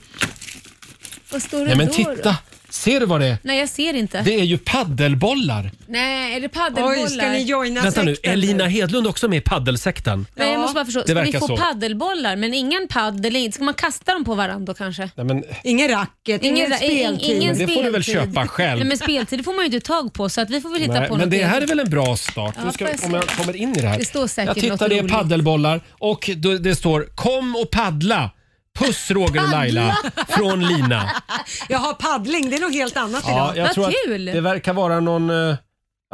Speaker 4: Vad står det
Speaker 1: Nej men
Speaker 4: då?
Speaker 1: titta! Ser du vad det är?
Speaker 4: Nej, jag ser inte.
Speaker 1: Det är ju paddelbollar.
Speaker 4: Nej, är det
Speaker 2: Oj, ska
Speaker 4: paddelbollar?
Speaker 2: ni joina
Speaker 1: Vänta nu,
Speaker 2: sekten
Speaker 1: är Lina Hedlund också med i paddelsekten?
Speaker 4: Nej, jag måste bara förstå. Ska vi
Speaker 1: verkar
Speaker 4: få
Speaker 1: så.
Speaker 4: paddelbollar men ingen paddel? Ska man kasta dem på varandra då kanske?
Speaker 1: Nej, men,
Speaker 2: Ingen racket, ingen,
Speaker 4: ra- ingen-
Speaker 2: speltid.
Speaker 4: ingen
Speaker 1: men det får du väl
Speaker 4: speltid.
Speaker 1: köpa själv.
Speaker 4: Nej, men speltid det får man ju inte tag på så att vi får väl hitta
Speaker 1: Nej,
Speaker 4: på
Speaker 1: men
Speaker 4: något.
Speaker 1: det här är
Speaker 4: eget.
Speaker 1: väl en bra start?
Speaker 4: Ja,
Speaker 1: nu ska,
Speaker 4: får jag se.
Speaker 1: om jag kommer in i det här.
Speaker 4: Det står säkert
Speaker 1: jag tittar,
Speaker 4: något
Speaker 1: det är
Speaker 4: roligt.
Speaker 1: paddelbollar och då- det står “Kom och paddla!” Puss Roger och Laila från
Speaker 4: (laughs)
Speaker 1: Lina.
Speaker 2: Jaha, paddling, det är något helt annat idag.
Speaker 4: Vad kul.
Speaker 1: det verkar vara någon... eh,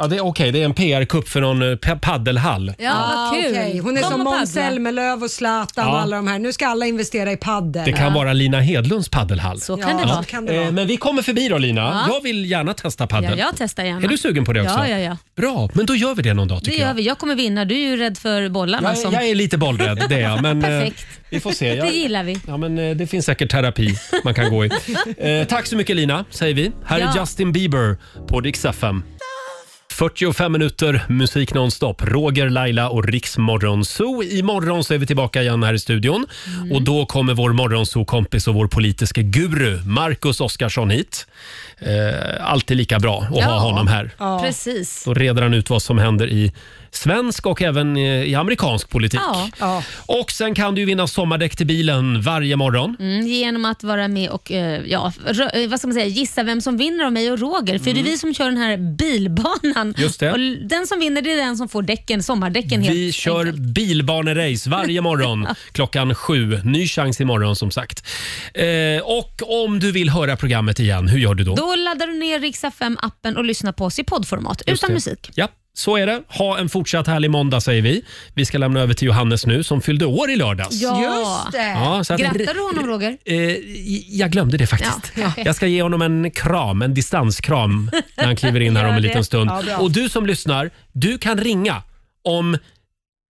Speaker 1: Ja, det är okej, det är en PR-kupp för någon eh, pa- paddelhall.
Speaker 4: Ja, vad kul.
Speaker 2: okej. Hon är
Speaker 4: Kom
Speaker 2: som
Speaker 4: och
Speaker 2: Måns
Speaker 4: paddla.
Speaker 2: Zelmerlöw och Zlatan och
Speaker 1: Ja.
Speaker 2: alla de här. Nu ska alla investera i paddel.
Speaker 1: Det kan vara Lina Hedlunds paddelhall.
Speaker 4: Så
Speaker 2: ja,
Speaker 4: kan det
Speaker 2: så
Speaker 4: vara.
Speaker 2: kan det vara.
Speaker 1: Eh, Men vi kommer förbi då Lina.
Speaker 4: Ja.
Speaker 1: Jag vill gärna testa
Speaker 4: Ja,
Speaker 1: paddel.
Speaker 4: jag testar gärna.
Speaker 1: Är du sugen på det också?
Speaker 4: Ja, ja, ja.
Speaker 1: Bra, men då gör vi det någon dag
Speaker 4: Det
Speaker 1: tycker
Speaker 4: gör vi. Jag kommer vinna. Du är ju rädd för bollarna.
Speaker 1: jag. Jag,
Speaker 4: som...
Speaker 1: jag är lite bollrädd, det är jag. Men eh,
Speaker 4: alltså. Perfekt.
Speaker 1: vi får se.
Speaker 4: Det
Speaker 1: Jag,
Speaker 4: gillar vi.
Speaker 1: Ja, men eh, det finns säkert terapi man kan gå i. Eh, tack så mycket Lina, säger vi. Här är
Speaker 4: Ja.
Speaker 1: Justin Bieber på Dix FM. 45 minuter musik nonstop. Roger, Laila och Riksmorgon Zoo. Imorgon så är vi tillbaka igen här i studion.
Speaker 4: Mm.
Speaker 1: Och då kommer vår morgonzoo-kompis och vår politiska guru Marcus Oskarsson hit. Eh, alltid lika bra att ha
Speaker 4: Ja.
Speaker 1: honom här.
Speaker 4: Precis.
Speaker 1: Då reder han ut vad som händer i svensk och även eh, i amerikansk politik.
Speaker 4: Ja.
Speaker 2: Ja.
Speaker 1: Och sen kan du ju vinna sommardäck till bilen varje morgon.
Speaker 4: Mm, genom att vara med och eh, ja, rö- eh, vad ska man säga, gissa vem som vinner av mig och Roger. För det är vi som kör den här bilbanan.
Speaker 1: Mm. Just det.
Speaker 4: Och l- den som vinner det är den som får däcken, sommardäcken Mm. helt
Speaker 1: Vi kör
Speaker 4: enkelt.
Speaker 1: bilbanerace varje
Speaker 4: (laughs)
Speaker 1: morgon klockan sju. Ny chans imorgon som sagt. Eh, och om du vill höra programmet igen, hur gör du då?
Speaker 4: Då laddar du ner Rix fm appen och lyssnar på oss i poddformat
Speaker 1: Just
Speaker 4: utan
Speaker 1: det.
Speaker 4: musik.
Speaker 1: Ja, så är det. Ha en fortsatt härlig måndag säger vi. Vi ska lämna över till Johannes nu som fyllde år i lördags.
Speaker 2: Just det.
Speaker 1: Ja, så att-
Speaker 4: Grattar du honom Roger?
Speaker 1: Eh, jag glömde det faktiskt. Jag ska ge honom en kram, en distanskram när han kliver in här om en
Speaker 4: Gör det.
Speaker 1: liten stund.
Speaker 2: Ja, bra.
Speaker 1: och du som lyssnar, du kan ringa om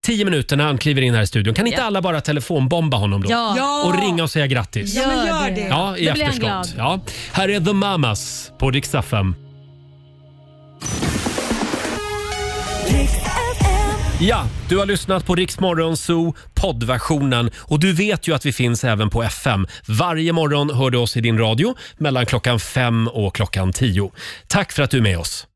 Speaker 1: tio minuter när han kliver in här i studion. Kan inte
Speaker 4: Ja.
Speaker 1: alla bara telefonbomba honom då?
Speaker 4: Ja.
Speaker 2: Ja.
Speaker 1: Och ringa och säga grattis.
Speaker 2: Ja, men
Speaker 4: Gör
Speaker 2: gör
Speaker 4: det.
Speaker 2: det.
Speaker 1: Ja, i
Speaker 4: Då blir han
Speaker 1: efterskott. Ja. Här är The Mamas på Rix FM. Ja, du har lyssnat på Rix Morgon Zoo poddversionen och du vet ju att vi finns även på FM. Varje morgon hör du oss i din radio mellan klockan fem och klockan tio. Tack för att du är med oss.